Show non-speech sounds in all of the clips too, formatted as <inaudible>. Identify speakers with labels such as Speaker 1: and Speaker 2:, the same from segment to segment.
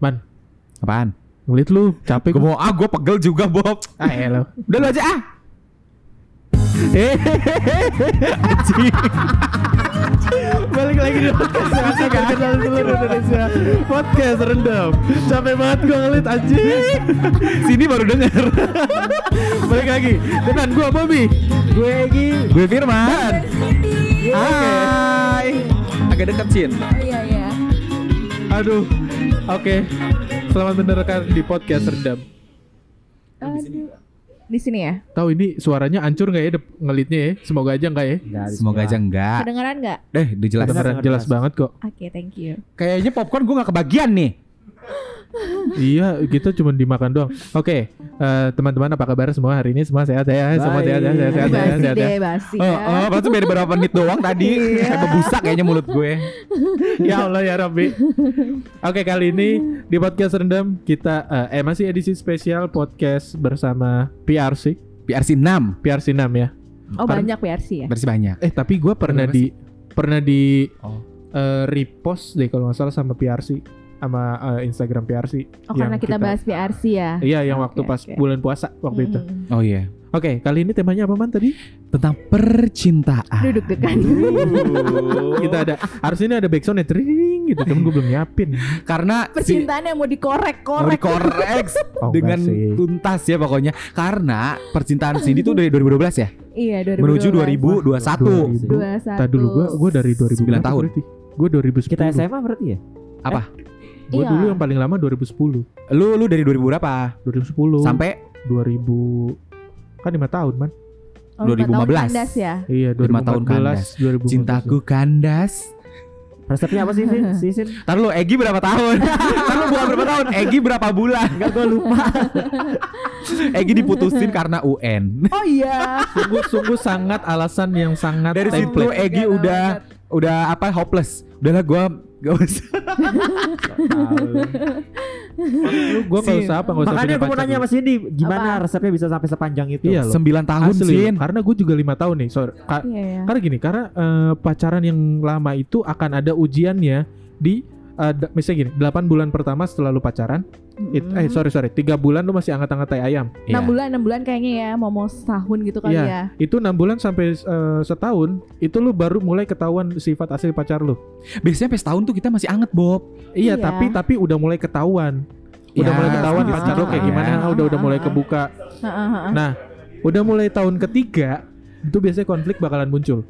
Speaker 1: Ban,
Speaker 2: Apaan?
Speaker 1: ngelit lu, capek.
Speaker 2: Gue mau ah, gue pegel juga Bob.
Speaker 1: Ah, ya lo.
Speaker 2: Udah lu aja ah.
Speaker 1: Balik lagi di podcast Indonesia Terkenal Seluruh Indonesia Podcast Rendam Capek banget gue ngelit anjing
Speaker 2: Sini baru denger.
Speaker 1: Balik lagi Dengan gue Bobby
Speaker 3: Gue Egi.
Speaker 2: gue
Speaker 3: Ah,
Speaker 2: Firman.
Speaker 3: Iya.
Speaker 2: Hai. Agak deket Cin.
Speaker 3: Oh iya iya.
Speaker 1: Aduh Oke Selamat mendengarkan di podcast Rendam
Speaker 3: Aduh. Di sini ya?
Speaker 1: Tahu ini suaranya ancur gak ya dep- ngelitnya ya Semoga aja gak ya
Speaker 2: Semoga aja enggak.
Speaker 3: Kedengaran nggak?
Speaker 2: Deh, udah jelas.
Speaker 1: Kedengeran jelas banget kok
Speaker 3: Oke, thank you.
Speaker 2: Kayaknya popcorn gue nggak kebagian nih.
Speaker 1: Iya kita cuma dimakan doang Oke eh, Teman-teman apa kabar semua hari ini Semua sehat ya Semua
Speaker 2: Baik.
Speaker 1: sehat ya Sehat sehat ya
Speaker 3: basi
Speaker 1: sehat ya
Speaker 3: deh, basi
Speaker 2: Oh,
Speaker 3: ya.
Speaker 2: oh, berarti beda berapa menit doang tadi.
Speaker 3: Iya.
Speaker 2: Sampai busak kayaknya mulut gue.
Speaker 1: ya Allah ya Rabbi. Oke kali ini di podcast rendam kita eh, eh masih edisi spesial podcast bersama PRC
Speaker 2: PRC 6
Speaker 1: PRC 6 ya.
Speaker 3: Oh,
Speaker 1: Par-
Speaker 3: banyak PRC ya.
Speaker 2: Berarti banyak.
Speaker 1: Eh tapi gue pernah
Speaker 2: Bebas.
Speaker 1: di pernah di
Speaker 2: Oh.
Speaker 1: eh, repost deh kalau nggak salah sama PRC sama eh, Instagram PRC.
Speaker 3: Oh,
Speaker 1: yang
Speaker 3: karena kita, bahas PRC ya. Hmm.
Speaker 1: Iya yang waktu
Speaker 3: Oke,
Speaker 1: pas
Speaker 3: oke.
Speaker 1: bulan puasa waktu
Speaker 4: Hmm.
Speaker 1: itu.
Speaker 3: Mm-mm.
Speaker 2: Oh iya.
Speaker 1: Oke kali ini temanya apa man tadi?
Speaker 2: Tentang percintaan.
Speaker 3: Duduk dekat.
Speaker 2: <laughs> Oh.
Speaker 1: kita ada harus ini ada backsound ya tring gitu cuman gue belum nyiapin.
Speaker 2: Karena si-
Speaker 3: Percintaan yang mau
Speaker 2: mau
Speaker 3: dikorek-korek.
Speaker 2: dikorek
Speaker 1: Oh,
Speaker 2: <laughs> dengan
Speaker 1: enggak sih.
Speaker 2: tuntas ya pokoknya karena percintaan Cindy tuh dari 2012 ya
Speaker 3: Iya, 2012.
Speaker 2: menuju 2021
Speaker 1: 2000. Tadi dulu gue gue dari 2009
Speaker 2: Sembilan tahun.
Speaker 1: Gue 2010.
Speaker 4: Kita SMA berarti ya?
Speaker 1: Gue
Speaker 3: Iya.
Speaker 1: dulu yang paling lama 2010
Speaker 2: lu lu dari 2000 berapa
Speaker 1: 2010
Speaker 2: sampai
Speaker 1: 2000 kan 5 tahun man
Speaker 3: Oh, empat tahun
Speaker 2: 2015.
Speaker 3: kandas ya.
Speaker 1: Iya
Speaker 2: Lima tahun kan,
Speaker 1: 2014 2015
Speaker 2: cintaku kandas
Speaker 4: Resepnya apa sih,
Speaker 1: <laughs>
Speaker 4: Vin? Si Sin?
Speaker 2: Ntar lu Egi berapa tahun? Ntar lu bukan berapa tahun? Egi berapa bulan? Enggak gue lupa <laughs> Egi diputusin karena UN
Speaker 3: Oh iya.
Speaker 1: Sungguh-sungguh sangat alasan yang sangat
Speaker 2: Dari situ
Speaker 4: <laughs>
Speaker 1: template
Speaker 2: Egi
Speaker 3: Galau
Speaker 2: udah Udah apa hopeless Udahlah gue Gak usah
Speaker 1: Gue gak usah apa gak usah punya
Speaker 4: Makanya gue mau
Speaker 1: pacar
Speaker 4: nanya
Speaker 1: dulu.
Speaker 4: sama Cindy, gimana
Speaker 3: Apa?
Speaker 4: resepnya bisa sampai sepanjang itu?
Speaker 1: Iya loh
Speaker 2: 9 tahun
Speaker 1: Asli
Speaker 2: Sin
Speaker 1: loh, Iya. Karena gue juga 5 tahun nih sorry. Ka-
Speaker 3: Iya ya.
Speaker 1: Karena gini Karena eh, pacaran yang lama itu Akan ada ujiannya Di eh, da- Misalnya gini 8 bulan pertama setelah lu pacaran it-
Speaker 3: Hmm.
Speaker 1: Eh sorry sorry 3 bulan lu masih anget-anget tai ayam
Speaker 2: Iya.
Speaker 3: 6 bulan, 6 bulan kayaknya ya, mau mau setahun gitu kali
Speaker 1: Iya.
Speaker 3: ya.
Speaker 1: Itu 6 bulan sampai eh, setahun Itu lu baru mulai ketahuan sifat asli pacar lu
Speaker 2: Biasanya sampai setahun tuh kita masih anget Bob
Speaker 1: Iya,
Speaker 3: Iya.
Speaker 1: tapi tapi udah mulai ketahuan. Udah
Speaker 2: Ya,
Speaker 1: mulai ketahuan
Speaker 2: sedikit-sedikit
Speaker 1: pacar lo kayak
Speaker 3: ya.
Speaker 1: gimana, udah udah mulai kebuka.
Speaker 3: Heeh, heeh.
Speaker 1: Nah, udah mulai tahun ketiga itu biasanya konflik bakalan muncul.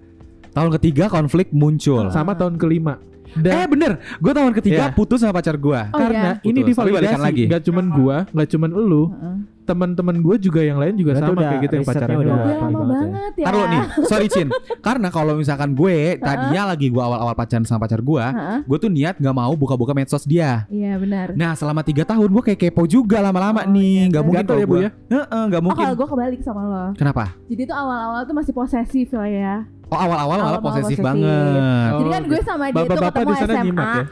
Speaker 2: Tahun ketiga konflik muncul
Speaker 1: Sama tahun kelima.
Speaker 2: Eh
Speaker 1: Dan
Speaker 2: bener, gue tahun
Speaker 1: Iya.
Speaker 2: ketiga putus sama pacar gue
Speaker 3: Oh,
Speaker 1: karena
Speaker 2: iya.
Speaker 1: ini
Speaker 2: Betul, tapi balikan
Speaker 1: divalidasi
Speaker 2: lagi.
Speaker 1: Gak cuman gua, gak cuman elu,
Speaker 3: Heeh.
Speaker 1: teman-teman gua juga yang lain juga
Speaker 4: Berarti
Speaker 1: sama
Speaker 4: udah
Speaker 1: kayak gitu yang
Speaker 4: risetnya
Speaker 1: pacaran.
Speaker 4: udah-
Speaker 3: Udah
Speaker 4: Wah,
Speaker 3: lama
Speaker 4: parah banget
Speaker 3: banget ya.
Speaker 2: Taruh nih, sorry Cin Karena kalau misalkan gue Tadinya lagi gue awal-awal pacaran sama pacar gue
Speaker 3: Heeh.
Speaker 2: Gue tuh niat gak mau buka-buka medsos dia
Speaker 3: Iya benar.
Speaker 2: Nah selama tiga tahun gue kayak kepo juga lama-lama
Speaker 3: Oh,
Speaker 2: nih
Speaker 3: iya,
Speaker 2: nggak
Speaker 3: bener.
Speaker 2: mungkin
Speaker 1: Gatel
Speaker 2: kalau
Speaker 1: ya, Bu,
Speaker 2: gue
Speaker 1: ya?
Speaker 2: Heeh, nggak
Speaker 3: Oh
Speaker 2: mungkin
Speaker 3: kalau gue kebalik sama lo
Speaker 2: Kenapa?
Speaker 3: Jadi tuh awal-awal tuh masih posesif lah ya
Speaker 2: Oh awal-awal malah
Speaker 3: Awal-awal
Speaker 2: posesif,
Speaker 3: posesif.
Speaker 2: banget
Speaker 1: Oh,
Speaker 3: Jadi kan gue sama dia tuh
Speaker 1: Bapak-bapak
Speaker 3: ketemu
Speaker 1: di sana
Speaker 3: SMA
Speaker 1: nyimak ya.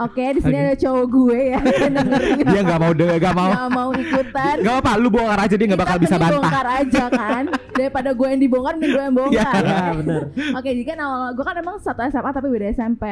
Speaker 3: Oke di sini
Speaker 1: Oke.
Speaker 3: ada cowok gue
Speaker 2: <laughs>
Speaker 3: ya yang dengerin.
Speaker 2: Dia nggak mau denger, nggak mau
Speaker 3: Nggak mau ikutan
Speaker 2: Gak apa, lu bongkar aja dia nggak
Speaker 3: Iya. Kita
Speaker 2: bakal bisa
Speaker 3: mending
Speaker 2: bantah
Speaker 3: bongkar aja kan Daripada gue yang dibongkar Mending gue yang bongkar
Speaker 4: Iya, benar.
Speaker 3: Oke jadi kan awal Gue kan emang satu SMA tapi beda SMP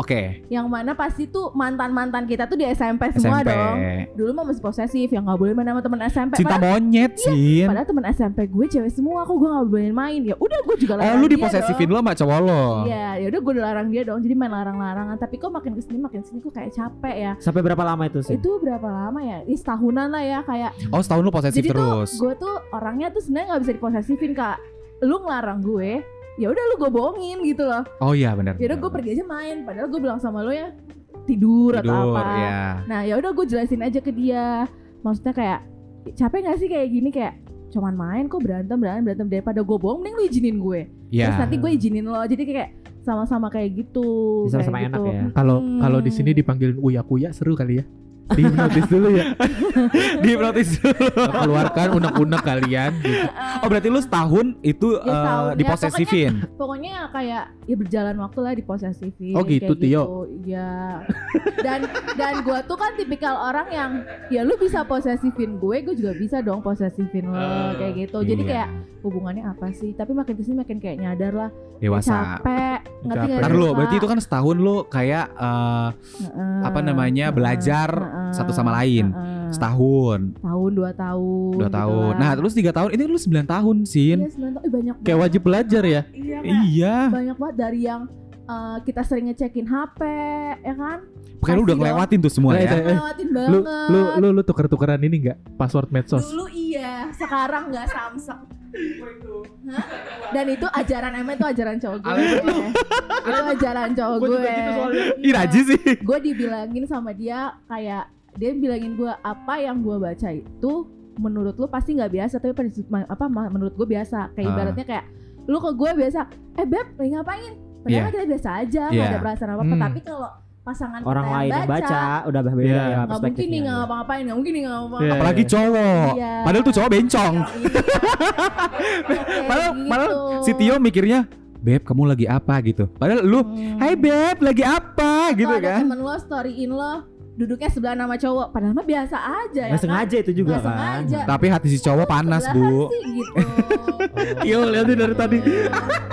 Speaker 2: Oke,
Speaker 3: Yang mana pasti tuh mantan-mantan kita tuh di SMP semua
Speaker 2: SMP
Speaker 3: dong Dulu mah masih posesif Yang gak boleh main sama temen SMP
Speaker 2: Cinta
Speaker 3: Padahal-
Speaker 2: monyet, Cin
Speaker 3: Padahal temen SMP gue cewek semua Kok gue gak boleh main Ya udah gue juga
Speaker 2: Oh
Speaker 3: larang
Speaker 2: lu
Speaker 3: dia dong.
Speaker 2: diposesifin lu sama cowok lo
Speaker 3: Iya, ya udah gue udah larang dia dong. Jadi main larang-larangan. Tapi kok makin kesini makin sini kok kayak capek ya.
Speaker 4: Sampai berapa lama itu sih?
Speaker 3: Itu berapa lama ya? Ini setahunan lah ya kayak.
Speaker 2: Oh setahun lu posesif
Speaker 3: Jadi
Speaker 2: terus
Speaker 3: tuh gue tuh orangnya tuh sebenarnya nggak bisa diposesifin kak. Lu ngelarang gue, ya udah lu gue bohongin gitu loh.
Speaker 2: Oh iya bener
Speaker 3: Ya udah gue pergi aja main. Padahal gue bilang sama lu ya tidur, atau
Speaker 2: Tidur,
Speaker 3: apa.
Speaker 2: ya
Speaker 3: Nah ya udah gue jelasin aja ke dia. Maksudnya kayak capek gak sih kayak gini kayak cuman main kok berantem berantem berantem daripada gue bohong mending lu izinin gue
Speaker 2: Iya
Speaker 3: terus nanti gue izinin lo jadi kayak sama-sama kayak gitu
Speaker 4: Bisa sama
Speaker 3: kayak
Speaker 4: enak ya.
Speaker 1: Kalau
Speaker 3: Hmm.
Speaker 1: kalau di sini dipanggilin uya-uya seru kali ya. Dihipnotis dulu ya.
Speaker 2: <laughs> Dihipnotis dulu
Speaker 1: Keluarkan unek-unek kalian.
Speaker 3: <laughs>
Speaker 1: gitu.
Speaker 2: Oh berarti lu setahun itu
Speaker 3: Ya,
Speaker 2: eh,
Speaker 3: setahun. Ya,
Speaker 2: diposesifin
Speaker 3: pokoknya kayak ya berjalan waktu lah di posesifin
Speaker 1: Oh, gitu,
Speaker 3: kayak
Speaker 1: Tio.
Speaker 3: gitu. iya dan dan gue tuh kan tipikal orang yang ya lu bisa posesifin gue gue juga bisa dong posesifin lo kayak gitu jadi
Speaker 2: Iya.
Speaker 3: kayak hubungannya apa sih tapi makin kesini makin kayak nyadar lah
Speaker 2: Dewasa
Speaker 3: capek Ngerti nggak
Speaker 2: Ntar
Speaker 3: sih,
Speaker 2: lo,
Speaker 3: Pak?
Speaker 2: berarti itu kan setahun lo kayak eh,
Speaker 3: Nah. Heeh,
Speaker 2: apa namanya
Speaker 3: heeh,
Speaker 2: belajar
Speaker 3: heeh,
Speaker 2: satu sama lain
Speaker 3: heeh.
Speaker 2: setahun,
Speaker 3: tahun dua tahun
Speaker 2: dua
Speaker 3: gitu
Speaker 2: tahun.
Speaker 3: lah.
Speaker 2: Nah terus tiga tahun, ini lu sembilan tahun sin.
Speaker 3: Iya, sembilan tahun. Ih, banyak
Speaker 1: Kayak
Speaker 3: banget.
Speaker 1: wajib belajar ya.
Speaker 3: Iya, Kak.
Speaker 2: Iya,
Speaker 3: banyak banget dari yang eh, kita sering ngecekin HP ya kan
Speaker 2: Pokoknya lu udah
Speaker 3: Pasti dong. Iya,
Speaker 2: ngelewatin tuh semua
Speaker 1: Eh,
Speaker 2: ya.
Speaker 1: eh, eh,
Speaker 3: ngelewatin banget
Speaker 1: lu lu lu, lu tuker-tukeran ini enggak? Password medsos.
Speaker 3: dulu iya sekarang nggak Samsung Hah? dan itu ajaran emang itu ajaran cowok gue itu ajaran cowok
Speaker 2: Gua
Speaker 3: gue
Speaker 2: juga gitu soalnya. Ih
Speaker 3: Iya.
Speaker 2: Raji sih.
Speaker 3: gue dibilangin sama dia kayak dia bilangin gue apa yang gue baca itu menurut lu pasti nggak biasa tapi pada- ma- apa ma- menurut gue biasa kayak
Speaker 2: Ah.
Speaker 3: ibaratnya kayak lu ke gue biasa eh beb lagi ngapain padahal
Speaker 2: Iya.
Speaker 3: kita biasa aja nggak ada
Speaker 2: Iya.
Speaker 3: perasaan apa apa
Speaker 1: Hmm.
Speaker 3: tapi kalau pasangan
Speaker 4: Orang
Speaker 3: kita
Speaker 4: lain yang baca udah beda
Speaker 1: Iya.
Speaker 3: nggak mungkin
Speaker 4: ya
Speaker 3: nih nggak
Speaker 4: perspektifnya.
Speaker 3: ngapa-ngapain nggak mungkin nih nggak ngapa
Speaker 1: Iya.
Speaker 2: Apalagi cowok.
Speaker 3: Iya. gitu.
Speaker 2: Padahal tuh cowok bencong.
Speaker 3: Kayak
Speaker 2: <laughs> Padahal- padahal
Speaker 3: gitu.
Speaker 2: Si Tio mikirnya, "Beb, kamu lagi apa?" gitu. Padahal lu,
Speaker 3: Hmm.
Speaker 2: "Hai Beb, lagi apa?" gitu
Speaker 3: Kalau ada
Speaker 2: kan.
Speaker 3: temen lo storyin lo duduknya sebelah nama cowok padahal mah biasa aja ya
Speaker 4: Nggak Eh, sengaja itu juga
Speaker 3: Nggak
Speaker 4: kan.
Speaker 3: sengaja.
Speaker 2: Tapi hati si cowok panas,
Speaker 3: Sebelahan
Speaker 2: Bu.
Speaker 3: sih, gitu
Speaker 2: Tio liatin dari tadi.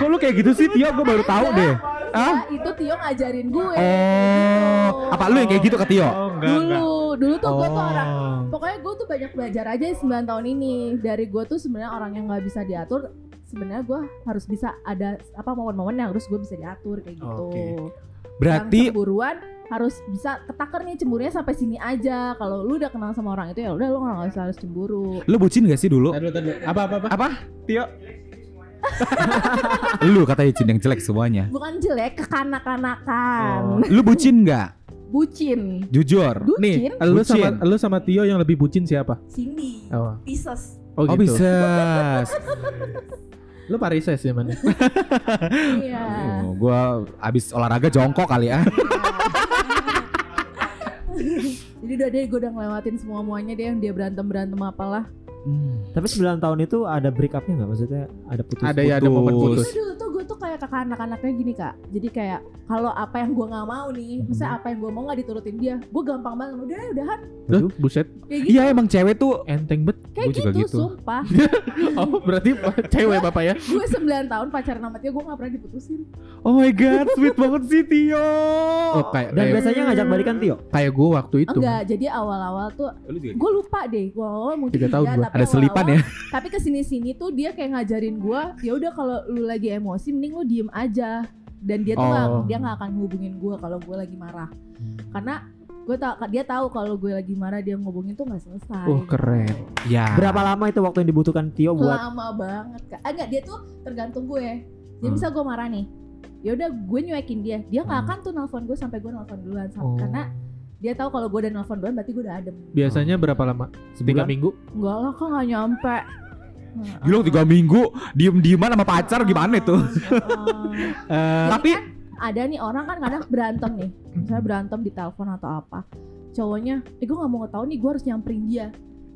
Speaker 2: Kok <laughs> lu kayak gitu sih, Tio? Gue baru tahu deh.
Speaker 3: Ya,
Speaker 2: Hah?
Speaker 3: itu Tio ngajarin gue
Speaker 2: Oh,
Speaker 3: gitu.
Speaker 2: apa lu yang kayak gitu ke Tio?
Speaker 3: dulu dulu tuh gue tuh
Speaker 2: Oh.
Speaker 3: orang pokoknya gue tuh banyak belajar aja 9 tahun ini dari gue tuh sebenarnya orang yang nggak bisa diatur sebenarnya gue harus bisa ada apa momen-momen yang harus gue bisa diatur kayak gitu
Speaker 2: Oke.
Speaker 3: Yang
Speaker 2: Berarti
Speaker 3: cemburuan harus bisa ketaker nih cemburunya sampai sini aja kalau lu udah kenal sama orang itu ya udah lu nggak usah harus cemburu
Speaker 2: lu bucin gak sih dulu?
Speaker 1: Tadi tadi apa apa apa?
Speaker 2: Apa? Tio? lu katanya Cin yang jelek semuanya.
Speaker 3: bukan jelek kekanak-kanakan
Speaker 2: Lu bucin gak?
Speaker 3: bucin
Speaker 2: Jujur.
Speaker 1: Nih,
Speaker 3: bucin
Speaker 1: lu gitu? sama
Speaker 2: Bucin.
Speaker 1: lu sama Tio yang lebih bucin siapa?
Speaker 3: Cindy
Speaker 1: Oh,
Speaker 3: Pisces
Speaker 1: oh, gitu.
Speaker 2: Oh,
Speaker 1: <laughs>
Speaker 2: bisa.
Speaker 1: Lu Parises ya mana?
Speaker 3: iya
Speaker 2: Oh, gua abis olahraga jongkok kali ya.
Speaker 3: jadi udah deh gue udah ngelewatin semua muanya deh yang dia berantem berantem apalah
Speaker 1: Hmm.
Speaker 4: Tapi 9 tahun itu ada break up-nya enggak? Maksudnya ada putus.
Speaker 1: ada ya ada momen putus.
Speaker 2: Putus.
Speaker 3: Tapi dulu tuh gue tuh kayak kakak anak-anaknya gini kak Jadi kayak kalau apa yang gue gak mau
Speaker 2: Hmm.
Speaker 3: nih Misalnya apa yang gue mau gak diturutin dia Gue gampang banget udah deh udahan
Speaker 1: Duh, buset,
Speaker 3: Kayak gitu
Speaker 2: Iya emang cewek tuh
Speaker 1: enteng bet.
Speaker 3: Kayak
Speaker 2: Gua juga
Speaker 3: gitu,
Speaker 2: gitu. <laughs>
Speaker 3: sumpah
Speaker 1: Oh, berarti cewek Bapak ya.
Speaker 3: Gue 9 tahun pacaran sama dia gue gak pernah diputusin
Speaker 2: Oh my god sweet banget sih Tio
Speaker 1: Oh, kayak
Speaker 4: Dan
Speaker 1: kayak,
Speaker 4: biasanya ngajak balikan Tio.
Speaker 1: kayak gue waktu itu.
Speaker 3: Enggak jadi awal-awal tuh Gue lupa deh Gue awal mungkin
Speaker 1: Tiga tahun
Speaker 3: iya,
Speaker 1: gua.
Speaker 3: tapi
Speaker 2: Ada selipan ya
Speaker 3: Tapi kesini-sini tuh dia kayak ngajarin gue ya udah kalau lu lagi emosi mending lu diem aja Dan dia tuh
Speaker 1: Oh.
Speaker 3: nggak- dia gak akan hubungin gue kalau gue lagi marah
Speaker 2: Hmm.
Speaker 3: Karena gue tau dia tahu kalau gue lagi marah dia ngomongin tuh nggak selesai
Speaker 2: Uh,
Speaker 1: Oh, keren.
Speaker 2: Ya
Speaker 4: Berapa lama itu waktu yang dibutuhkan Tio buat
Speaker 3: lama banget kak ah, enggak dia tuh tergantung gue jadi
Speaker 2: Hmm.
Speaker 3: misal gue marah nih ya udah gue nyuekin dia dia nggak akan tuh nelfon gue sampai gue nelfon duluan Sam-
Speaker 4: Oh.
Speaker 3: karena dia tahu kalau gue udah nelfon duluan berarti gue udah adem
Speaker 1: Biasanya berapa lama? Tiga
Speaker 4: sebulan?
Speaker 1: minggu?
Speaker 3: enggak lah kok nggak nyampe
Speaker 2: Gila tiga minggu Diem-dieman sama pacar gimana itu
Speaker 3: Ya Heeh.
Speaker 1: Eh,
Speaker 2: Tapi
Speaker 3: ada nih orang kan kadang berantem nih
Speaker 1: Hmm.
Speaker 3: misalnya berantem di telepon atau apa cowoknya eh gue nggak mau tahu nih gue harus nyamperin dia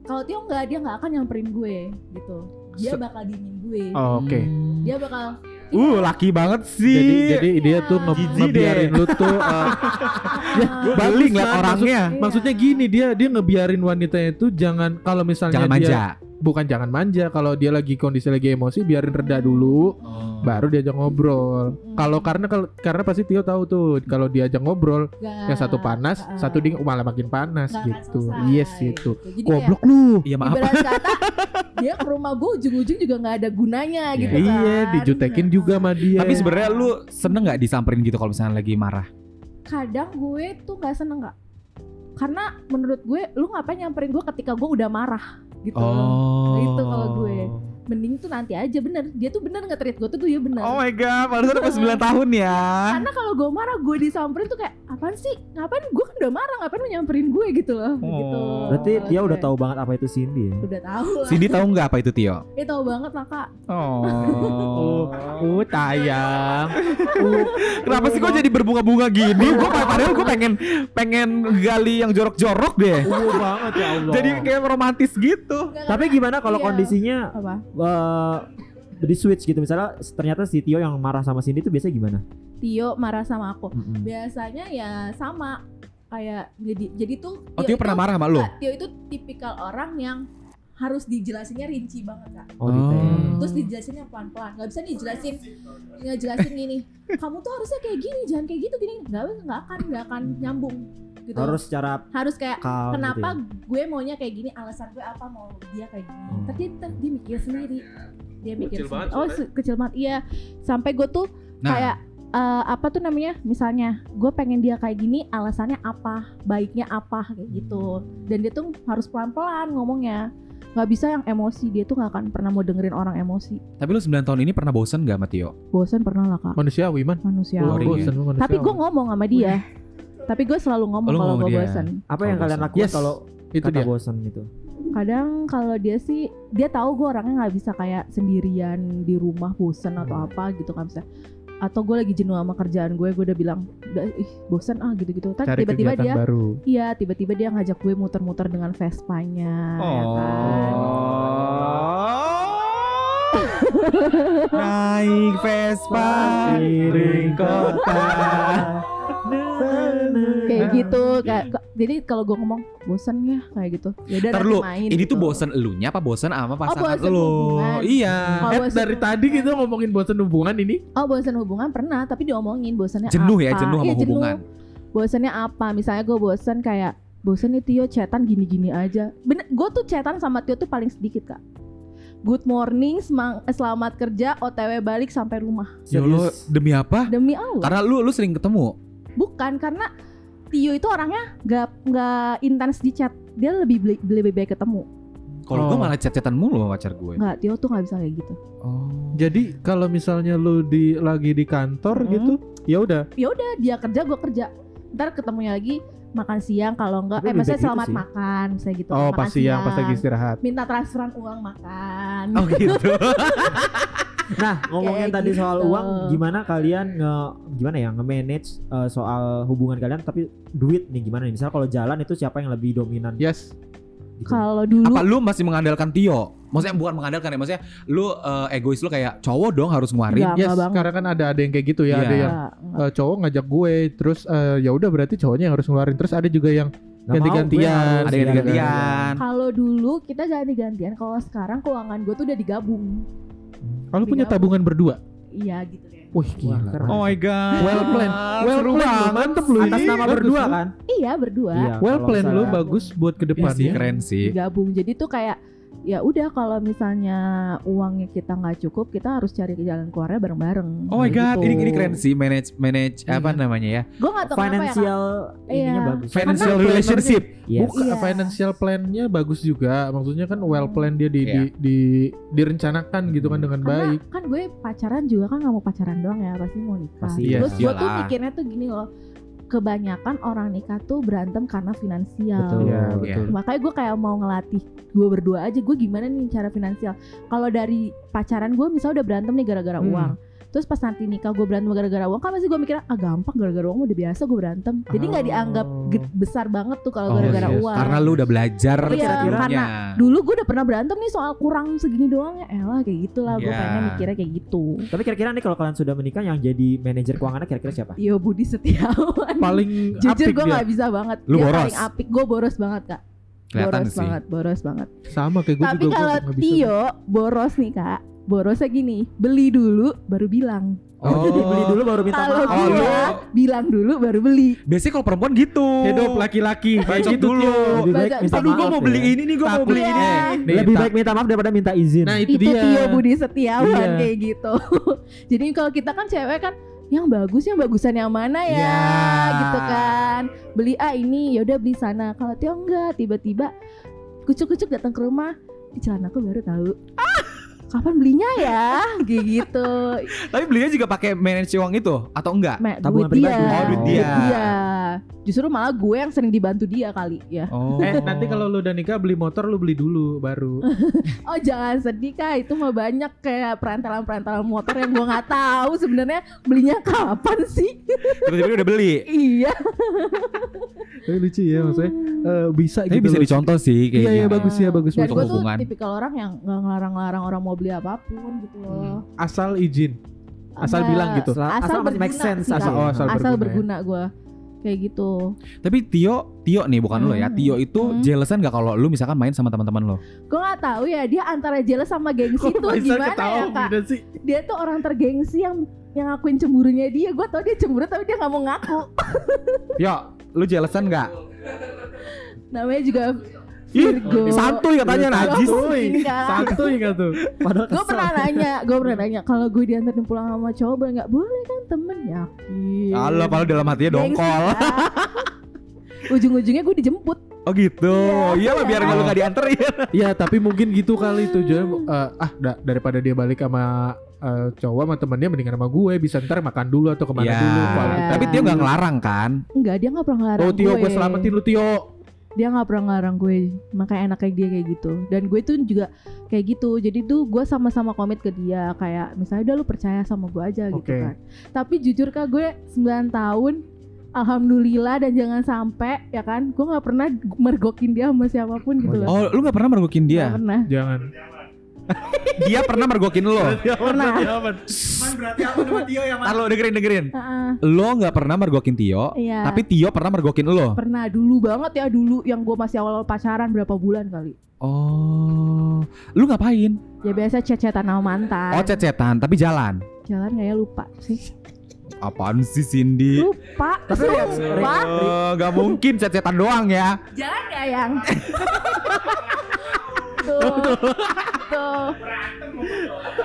Speaker 3: kalau Tio nggak dia nggak akan nyamperin gue gitu dia
Speaker 1: Se-
Speaker 3: bakal dingin gue
Speaker 1: oh, Oke.
Speaker 3: dia
Speaker 1: <laughs>
Speaker 3: bakal
Speaker 2: Hmm. Uh laki banget sih
Speaker 1: Jadi jadi dia tuh nge-
Speaker 3: Jijik
Speaker 1: ngebiarin lu <laughs> tuh eh, ya,
Speaker 3: Gua
Speaker 2: Balik ngeliat
Speaker 1: maksud-
Speaker 2: orangnya
Speaker 3: iya."
Speaker 1: Maksudnya gini dia dia ngebiarin wanitanya itu jangan kalau misalnya
Speaker 2: Jangan
Speaker 1: dia
Speaker 2: manja
Speaker 1: bukan jangan manja kalau dia lagi kondisi lagi emosi biarin reda dulu baru diajak ngobrol.
Speaker 3: Mm.
Speaker 1: Kalau karena kalau karena pasti Tio tahu tuh kalau diajak ngobrol
Speaker 3: Nggak,
Speaker 1: yang satu panas,
Speaker 3: nggak.
Speaker 1: satu ding malah makin panas
Speaker 3: Ah, Nggak akan
Speaker 1: gitu.
Speaker 3: selesai,
Speaker 1: Yes gitu.
Speaker 3: Jadi
Speaker 1: Goblok lu.
Speaker 2: Iya
Speaker 3: kayak
Speaker 2: maaf
Speaker 3: ibarat
Speaker 1: <laughs>
Speaker 3: kata dia ke rumah gue ujung-ujung juga nggak ada gunanya gitu kan.
Speaker 1: Iya, dijutekin juga sama dia.
Speaker 2: Tapi sebenarnya lu seneng gak disamperin gitu kalau misalnya lagi marah
Speaker 3: Kadang gue tuh nggak seneng nggak. Karena menurut gue lu ngapain nyamperin gue ketika gue udah marah gitu.
Speaker 2: Oh
Speaker 3: Gitu kalau gue. Mending tuh nanti aja bener. Dia tuh bener nge-treat gue tuh, tuh dia bener.
Speaker 2: Oh my god, padahal pas
Speaker 1: <laughs>
Speaker 2: 9 tahun ya.
Speaker 3: Karena kalau gue marah gue disamperin tuh kayak apaan sih? Ngapain gue kan udah marah, ngapain lu nyamperin gue gitu loh.
Speaker 2: Oh.
Speaker 3: Gitu.
Speaker 4: Berarti
Speaker 3: Kalau
Speaker 4: Tio udah
Speaker 3: gue.
Speaker 4: tahu banget apa itu Cindy ya.
Speaker 3: Udah tahu lah.
Speaker 2: Cindy tahu nggak apa itu Tio?
Speaker 3: Dia tahu banget lah kak.
Speaker 2: Oh.
Speaker 1: Uh, tayang.
Speaker 2: Kenapa sih kok jadi berbunga-bunga gini? Gue padahal gue pengen pengen gali yang jorok-jorok deh.
Speaker 1: Uh banget ya Allah.
Speaker 2: Jadi kayak romantis gitu.
Speaker 3: Nggak,
Speaker 4: Tapi gimana kalau
Speaker 3: Iya.
Speaker 4: kondisinya
Speaker 3: apa?
Speaker 4: eh di switch gitu misalnya ternyata si Tio yang marah sama Cindy itu biasanya gimana?
Speaker 3: Tio marah sama aku.
Speaker 4: Mm-mm.
Speaker 3: Biasanya ya sama kayak jadi jadi tuh
Speaker 2: Oh Tio pernah marah sama
Speaker 3: itu,
Speaker 2: lo?
Speaker 3: Tio itu tipikal orang yang harus dijelasinnya rinci banget kak
Speaker 4: Oh,
Speaker 2: gitu ya.
Speaker 4: detail.
Speaker 3: terus dijelasinnya pelan-pelan nggak bisa nih jelasin nggak jelasin gini kamu tuh harusnya kayak gini jangan kayak gitu gini nggak nggak akan nggak akan nyambung gitu
Speaker 1: Oh.
Speaker 4: Harus secara
Speaker 3: harus kayak
Speaker 4: calm gitu
Speaker 3: kenapa
Speaker 4: ya.
Speaker 3: gue maunya kayak gini alasan gue apa mau dia kayak gini
Speaker 4: Hmm.
Speaker 3: tapi dia, dia mikir sendiri dia mikir
Speaker 1: Kecil banget
Speaker 3: sendiri. oh se- kecil banget iya sampai gue tuh
Speaker 2: Nah,
Speaker 3: kayak eh, apa tuh namanya misalnya gue pengen dia kayak gini alasannya apa baiknya apa kayak gitu dan dia tuh harus pelan pelan ngomongnya nggak bisa yang emosi dia tuh nggak akan pernah mau dengerin orang emosi
Speaker 2: tapi lu 9 tahun ini pernah bosen gak sama Tio?
Speaker 3: bosan pernah lah kak
Speaker 1: manusiawi man
Speaker 3: manusia
Speaker 2: Boring.
Speaker 1: bosen lu manusiawi.
Speaker 3: tapi gue ngomong sama dia tapi gue selalu ngomong
Speaker 2: Oh, lu
Speaker 3: kalau
Speaker 2: ngomong
Speaker 3: gue
Speaker 2: dia.
Speaker 3: bosan
Speaker 4: apa yang
Speaker 2: Kalau
Speaker 4: kalian
Speaker 2: bosan.
Speaker 4: lakukan
Speaker 1: Yes.
Speaker 4: kalau
Speaker 1: itu
Speaker 4: kata
Speaker 1: dia
Speaker 4: bosan gitu?
Speaker 3: kadang kalau dia sih dia tahu gue orangnya nggak bisa kayak sendirian di rumah bosen
Speaker 2: Hmm.
Speaker 3: atau apa gitu kan misalnya atau gue lagi jenuh sama kerjaan gue gue udah bilang udah ih bosen ah gitu gitu tapi
Speaker 1: cari
Speaker 3: tiba-tiba
Speaker 1: kegiatan
Speaker 3: dia
Speaker 1: baru
Speaker 3: iya tiba-tiba dia ngajak gue muter-muter dengan
Speaker 2: Nah,
Speaker 3: Vespanya ya
Speaker 2: Oh.
Speaker 3: kan
Speaker 2: Naik Vespa
Speaker 4: Keliling kota.
Speaker 3: kayak gitu kayak ka- jadi kalau gue ngomong bosen ya kayak gitu ya udah
Speaker 2: Iya. Ntar
Speaker 3: nanti
Speaker 2: lu,
Speaker 3: main
Speaker 2: ini tuh
Speaker 3: gitu.
Speaker 2: bosen elunya apa Oh, bosen sama pasangan
Speaker 3: bosen
Speaker 2: lu?
Speaker 3: hubungan.
Speaker 2: Iya.
Speaker 3: Kalau
Speaker 1: Eh,
Speaker 3: bosen
Speaker 1: dari tadi
Speaker 3: hubungan-
Speaker 1: gitu ngomongin bosen hubungan ini
Speaker 3: oh bosen hubungan pernah tapi diomongin bosennya
Speaker 2: Jenuh ya,
Speaker 3: apa.
Speaker 2: jenuh sama
Speaker 3: Iya,
Speaker 2: hubungan.
Speaker 3: bosannya apa misalnya gue bosan kayak bosan nih Tio cetan gini-gini aja bener gue tuh cetan sama Tio tuh paling sedikit kak good morning semang- selamat kerja otw balik sampai rumah
Speaker 2: Ya Allah,
Speaker 4: Serius.
Speaker 2: demi apa?
Speaker 3: demi Allah
Speaker 2: Karena lu lu sering ketemu.
Speaker 3: bukan karena Tio itu orangnya gak nggak intens di chat dia lebih beli- lebih baik ketemu
Speaker 2: Kalau gua
Speaker 1: Oh.
Speaker 2: malah chat-chatan mulu sama pacar gue.
Speaker 3: nggak Tio tuh nggak bisa kayak gitu
Speaker 2: Oh.
Speaker 1: jadi kalau misalnya lu di lagi di kantor
Speaker 3: Mm.
Speaker 1: gitu ya udah
Speaker 3: udah dia kerja gue kerja ntar ketemunya lagi makan siang kalau enggak eh
Speaker 4: Tapi lebih
Speaker 3: maksudnya
Speaker 4: baik gitu
Speaker 3: selamat
Speaker 4: sih.
Speaker 3: makan misalnya gitu
Speaker 1: oh
Speaker 3: makan
Speaker 1: pas siang pas lagi istirahat
Speaker 3: minta transferan uang makan
Speaker 2: Oh gitu.
Speaker 4: Nah, ngomongin
Speaker 3: Kayak
Speaker 4: tadi soal
Speaker 3: gitu.
Speaker 4: uang, gimana kalian nge gimana ya nge-manage eh, soal hubungan kalian tapi duit nih gimana nih? Misal kalau jalan itu siapa yang lebih dominan?
Speaker 1: yes
Speaker 4: Gitu.
Speaker 3: kalau dulu
Speaker 2: apa lu masih mengandalkan Tio? Maksudnya bukan mengandalkan ya, maksudnya lu eh, egois lu kayak cowok dong harus nguarin.
Speaker 3: Enggak,
Speaker 1: yes
Speaker 3: enggak banget.
Speaker 1: sekarang kan ada ada yang kayak gitu ya
Speaker 2: Iya.
Speaker 1: ada yang
Speaker 3: Enggak, enggak.
Speaker 1: eh, cowok ngajak gue terus eh, ya udah berarti cowoknya yang harus ngeluarin terus ada juga yang
Speaker 4: Nggak mau, gue
Speaker 1: ganti-gantian.
Speaker 4: harus-
Speaker 2: Ada yang gantian.
Speaker 3: Kalau dulu kita ganti-gantian, kalau sekarang keuangan gue tuh udah digabung.
Speaker 1: kalau "Ah, punya
Speaker 3: Tiga.
Speaker 1: tabungan berdua
Speaker 3: Iya gitu deh.
Speaker 1: wih
Speaker 4: Wah,
Speaker 1: gila
Speaker 4: keren.
Speaker 2: Oh my god.
Speaker 1: iya. well planned well
Speaker 2: Seru
Speaker 1: planned lu,
Speaker 2: banget.
Speaker 1: mantep lu
Speaker 4: Atas
Speaker 1: ini.
Speaker 4: nama
Speaker 1: Bagus
Speaker 4: berdua
Speaker 1: lu.
Speaker 4: kan?
Speaker 3: Iya berdua
Speaker 1: well
Speaker 4: kalau
Speaker 1: planned lu
Speaker 4: misalnya-
Speaker 1: bagus buat
Speaker 2: Iya sih,
Speaker 1: kedepannya
Speaker 2: keren sih.
Speaker 3: digabung. Jadi tuh kayak ya udah kalau misalnya uangnya kita nggak cukup, kita harus cari jalan keluarnya bareng-bareng.
Speaker 2: Oh my god, ini ini keren sih manage manage apa namanya ya?
Speaker 3: Gue nggak tahu kenapa ya. Kak.
Speaker 4: Financial ininya
Speaker 3: Iya.
Speaker 4: bagus.
Speaker 2: Financial
Speaker 1: planner-nya-
Speaker 2: relationship.
Speaker 4: Yes.
Speaker 1: Bukan
Speaker 3: Iya. Hmm.
Speaker 1: financial plan-nya bagus juga. Maksudnya kan well planned dia di,
Speaker 2: Iya.
Speaker 1: di, di- direncanakan gitu kan dengan
Speaker 3: Karena
Speaker 1: baik.
Speaker 3: kan gue pacaran juga kan nggak mau pacaran doang ya, pasti mau nikah.
Speaker 4: Pasti,
Speaker 1: iya.
Speaker 3: Terus gue tuh
Speaker 2: Iyalah.
Speaker 3: mikirnya tuh gini loh, kebanyakan orang nikah tuh berantem karena finansial.
Speaker 4: Betul.
Speaker 1: Iya,
Speaker 4: Iya.
Speaker 1: betul.
Speaker 3: makanya gue kayak mau ngelatih gue berdua aja gue gimana nih cara finansial kalau dari pacaran gue misalnya udah berantem nih gara-gara
Speaker 1: Hmm.
Speaker 3: uang terus pas nanti nikah gue berantem gara-gara uang kan masih gue mikir ah gampang gara-gara uang udah biasa gue berantem jadi nggak
Speaker 1: Oh.
Speaker 3: dianggap ge- besar banget tuh kalau
Speaker 2: Oh,
Speaker 3: gara-gara
Speaker 1: yes.
Speaker 3: uang
Speaker 2: Karena lu udah belajar
Speaker 3: Iya,
Speaker 2: sebelumnya.
Speaker 3: karena dulu gue udah pernah berantem nih soal kurang segini doang ya elah kayak gitulah gue
Speaker 2: Iya.
Speaker 3: pengen mikirnya kayak gitu
Speaker 4: Tapi kira-kira nih kalau kalian sudah menikah yang jadi manajer keuangannya kira-kira siapa?
Speaker 3: Yo Budi Setiawan
Speaker 1: Paling
Speaker 3: Jujur
Speaker 1: apik
Speaker 3: gue
Speaker 1: dia.
Speaker 3: gak bisa banget
Speaker 2: Lu
Speaker 3: Dia
Speaker 2: boros.
Speaker 3: paling apik Gue boros banget kak
Speaker 2: kelihatan
Speaker 3: Boros
Speaker 2: sih.
Speaker 3: banget Boros banget
Speaker 1: sama kayak gue
Speaker 3: Tapi
Speaker 1: juga.
Speaker 3: kalau
Speaker 1: gue nggak bisa.
Speaker 3: Tio boros nih kak Borosnya gini Beli dulu baru bilang
Speaker 4: Oh, <laughs> jadi beli dulu baru minta
Speaker 3: Kalau
Speaker 4: maaf.
Speaker 2: Oh,
Speaker 3: gue
Speaker 2: lu-
Speaker 3: bilang dulu baru beli
Speaker 2: Biasanya kalau perempuan gitu.
Speaker 1: hidup laki-laki kayak
Speaker 2: Bacot
Speaker 1: gitu
Speaker 2: dulu.
Speaker 1: Tio.
Speaker 4: Lebih baik
Speaker 3: Baca-
Speaker 4: minta
Speaker 2: Aduh, gue
Speaker 4: maaf
Speaker 2: mau
Speaker 4: ya.
Speaker 2: beli ini nih, gue mau
Speaker 3: Tapi
Speaker 2: beli
Speaker 3: ya,
Speaker 2: ini.
Speaker 1: Nih,
Speaker 4: Lebih
Speaker 1: tak-
Speaker 4: baik minta maaf daripada minta izin.
Speaker 1: Nah, itu,
Speaker 3: Itu,
Speaker 1: dia.
Speaker 3: Tio Budi Setiawan
Speaker 1: Iya.
Speaker 3: kayak gitu <laughs> Jadi kalau kita kan cewek kan yang bagus yang bagusan yang mana ya
Speaker 2: Ya.
Speaker 1: Iya.
Speaker 3: gitu kan beli ah ini yaudah beli sana kalau Tio enggak tiba-tiba kucuk-kucuk datang ke rumah "Ih, celana aku baru tahu
Speaker 1: Ah!
Speaker 3: kapan belinya ya kayak gitu
Speaker 2: Tapi belinya juga pakai manage uang itu atau enggak?
Speaker 3: Ma,
Speaker 4: Tabungan
Speaker 3: duit dia. Iya.
Speaker 4: pribadi. Oh, duit
Speaker 2: dia.
Speaker 3: Justru malah gue yang sering dibantu dia kali ya.
Speaker 2: Oh.
Speaker 1: Eh, nanti kalau lu udah nikah beli motor lu beli dulu
Speaker 3: <laughs>
Speaker 1: baru.
Speaker 3: Oh jangan sedih kak, itu mah banyak kayak perantalan-perantalan motor yang gue nggak tahu sebenarnya belinya kapan sih?
Speaker 2: tiba-tiba udah beli.
Speaker 3: iya.
Speaker 1: Tapi lucu ya maksudnya eh, bisa
Speaker 2: Tapi
Speaker 1: gitu.
Speaker 2: bisa
Speaker 1: loh.
Speaker 2: dicontoh sih kayak
Speaker 1: Iya, iya,
Speaker 2: gini.
Speaker 1: bagus ya, bagus,
Speaker 3: Dan
Speaker 2: bagus.
Speaker 3: gue tuh
Speaker 2: Hubungan.
Speaker 3: tipikal orang yang nggak ngelarang-larang orang mau beli apapun gitu loh.
Speaker 1: Hmm. Asal izin. Asal
Speaker 3: Sama-
Speaker 1: bilang gitu.
Speaker 4: Asal- asal masih make
Speaker 3: berguna
Speaker 4: sense,
Speaker 3: sih,
Speaker 4: asal-
Speaker 3: Kak.
Speaker 1: oh, asal
Speaker 3: asal
Speaker 1: berguna
Speaker 3: berguna gue. kayak gitu
Speaker 2: Tapi Tio, Tio nih bukan lo ya.
Speaker 3: Hmm.
Speaker 2: Tio itu
Speaker 3: Hmm.
Speaker 2: jealousan gak kalau lu misalkan main sama teman-teman lo?
Speaker 3: gue nggak tahu ya dia antara jealous
Speaker 1: <laughs>
Speaker 3: sama gengsi
Speaker 1: Kok
Speaker 3: tuh
Speaker 1: Faisal
Speaker 3: gimana
Speaker 1: Oh, ketawa
Speaker 3: ya kak
Speaker 1: gini sih?
Speaker 3: dia tuh orang tergengsi yang yang ngakuin cemburunya dia gue tau dia cemburu tapi dia nggak mau ngaku
Speaker 2: Tio, lu jealousan gak?
Speaker 3: namanya juga Virgo
Speaker 2: santuy
Speaker 1: Iya.
Speaker 2: katanya najis.
Speaker 1: Santuy nggak tuh?
Speaker 4: Padahal
Speaker 3: gue pernah nanya gue pernah nanya kalau gue diantarin pulang sama cowok boleh nggak boleh kan temen yakin
Speaker 2: Allah, kalau dalam hatinya
Speaker 3: Gengsi,
Speaker 2: dongkol. <laughs>
Speaker 3: Kak. ujung-ujungnya gue dijemput
Speaker 2: Oh gitu. Iya lah biar lu gak dianterin.
Speaker 1: Ya tapi mungkin gitu kali tujuannya eh, ah da- daripada dia balik sama eh, cowok sama temennya mendingan sama gue bisa ntar makan dulu atau kemana
Speaker 2: Iya.
Speaker 1: dulu. Kalau kita-
Speaker 2: Tapi Tio gak ngelarang kan?
Speaker 3: enggak dia nggak pernah ngelarang
Speaker 1: Oh Tio
Speaker 3: gue
Speaker 1: gue selamatin lu Tio.
Speaker 3: dia nggak pernah ngelarang gue makanya enaknya dia kayak gitu dan gue tuh juga kayak gitu jadi tuh gue sama-sama komit ke dia kayak misalnya udah lu percaya sama gue aja gitu
Speaker 1: Oke.
Speaker 3: kan tapi jujur kak gue 9 tahun Alhamdulillah dan jangan sampai ya kan gue nggak pernah mergokin dia sama siapapun gitu loh
Speaker 2: Oh, lu gak pernah mergokin
Speaker 3: Nggak
Speaker 2: dia?
Speaker 3: pernah
Speaker 1: Jangan.
Speaker 2: dia pernah mergokin lo.
Speaker 3: Pernah. <laughs>
Speaker 1: berarti aku sama Tio yang
Speaker 2: Ntar lo dengerin dengerin.
Speaker 3: Ah,
Speaker 2: Lo gak pernah mergokin Tio,
Speaker 3: Iya.
Speaker 2: tapi Tio pernah mergokin lo.
Speaker 3: pernah dulu banget ya dulu yang gue masih awal pacaran berapa bulan kali
Speaker 2: Oh, lu ngapain?
Speaker 3: ya biasa cecetan sama mantan
Speaker 2: Oh, cecetan tapi jalan.
Speaker 3: jalan nggak ya lupa sih
Speaker 2: Apaan sih Cindy?
Speaker 3: lupa
Speaker 4: Tapi ya,
Speaker 3: lupa
Speaker 2: Eh, Gak mungkin cecetan doang ya.
Speaker 3: Jalan gak
Speaker 2: <laughs>
Speaker 3: yang? tuh, tuh.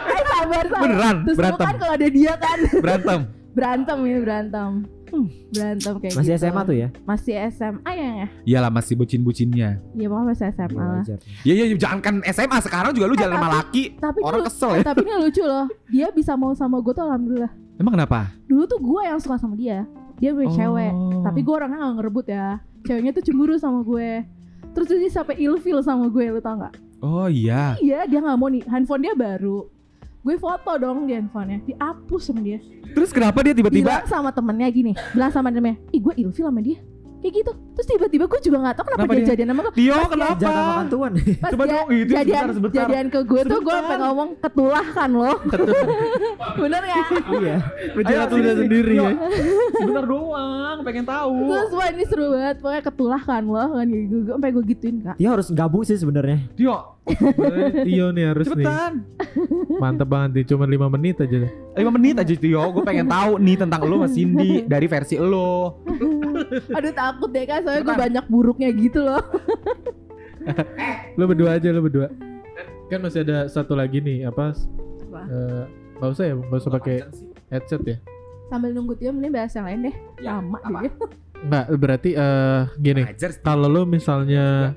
Speaker 3: Eh sabar sabar.
Speaker 2: Beneran,
Speaker 3: Terus lu
Speaker 2: berantem.
Speaker 3: kan kalau ada dia kan
Speaker 2: Berantem.
Speaker 3: berantem ya berantem. Hmm, berantem kayak
Speaker 4: Masih
Speaker 3: gitu.
Speaker 4: SMA tuh ya?
Speaker 3: Masih SMA ya ya.
Speaker 2: Iyalah masih bucin-bucinnya.
Speaker 3: Iya pokoknya masih SMA lah.
Speaker 4: Wajar.
Speaker 2: Ya ya ya, jangan kan SMA sekarang juga lu jalan sama laki.
Speaker 3: Tapi
Speaker 2: Orang
Speaker 3: dulu-
Speaker 2: kesel
Speaker 3: eh,
Speaker 2: ya.
Speaker 3: tapi ini lucu loh. Dia bisa mau sama gue tuh alhamdulillah.
Speaker 2: Emang kenapa?
Speaker 3: Dulu tuh gue yang suka sama dia. Dia punya cewek.
Speaker 2: Oh.
Speaker 3: Tapi gue orangnya gak ngerebut ya. Ceweknya tuh cemburu sama gue. Terus dia sampai ilfil sama gue, lu tau gak?
Speaker 2: Oh iya.
Speaker 3: Iya dia nggak mau nih handphone dia baru Gue foto dong di handphonenya Dihapus sama dia
Speaker 2: Terus kenapa dia tiba-tiba
Speaker 3: Bilang sama temennya gini Bilang sama temennya Ih gue ilfil sama dia Kayak gitu Terus tiba-tiba gue juga gak tau kenapa,
Speaker 2: Kenapa
Speaker 3: dia,
Speaker 2: dia?
Speaker 3: jadian sama gue
Speaker 2: Tio
Speaker 4: Jaga
Speaker 2: kenapa?
Speaker 3: kan.
Speaker 4: makan tuan.
Speaker 3: Pas
Speaker 2: Coba
Speaker 3: dia
Speaker 2: dong, oh, itu
Speaker 3: jadian,
Speaker 2: sebentar, sebentar.
Speaker 3: jadian ke gue tuh gue sampe ngomong ketulah kan
Speaker 2: <laughs>
Speaker 3: lo Bener gak?
Speaker 4: Iya.
Speaker 1: Menjelat
Speaker 2: Ayo, sini, Iya.
Speaker 1: udah
Speaker 2: sini.
Speaker 1: sendiri ya.
Speaker 2: Sebentar doang, pengen tahu.
Speaker 3: Terus wah ini seru banget Pokoknya ketulah kan lo kan kayak gitu Gue sampe gue gituin kak
Speaker 4: <laughs>
Speaker 2: <laughs>
Speaker 4: Dia harus gabung sih sebenarnya.
Speaker 2: Tio,
Speaker 1: Tio nih harus nih.
Speaker 2: cepetan.
Speaker 1: Mantep banget nih cuma 5 menit aja.
Speaker 2: 5 menit aja Tio, gue pengen tahu nih tentang lu sama Cindy dari versi lo.
Speaker 3: Aduh takut deh kak Soalnya gue
Speaker 2: Cepetan.
Speaker 3: banyak buruknya gitu loh
Speaker 1: Lu berdua aja lu berdua. Kan masih ada satu lagi nih apa?
Speaker 3: Apa?
Speaker 1: Eh, Gak usah ya, gak usah pakai headset ya.
Speaker 3: Sambil nunggu dia mending bahas yang lain deh
Speaker 2: Ya,
Speaker 3: Lama
Speaker 2: apa?
Speaker 3: dia
Speaker 1: Enggak, berarti eh gini.
Speaker 2: Ajar
Speaker 1: Kalau lu misalnya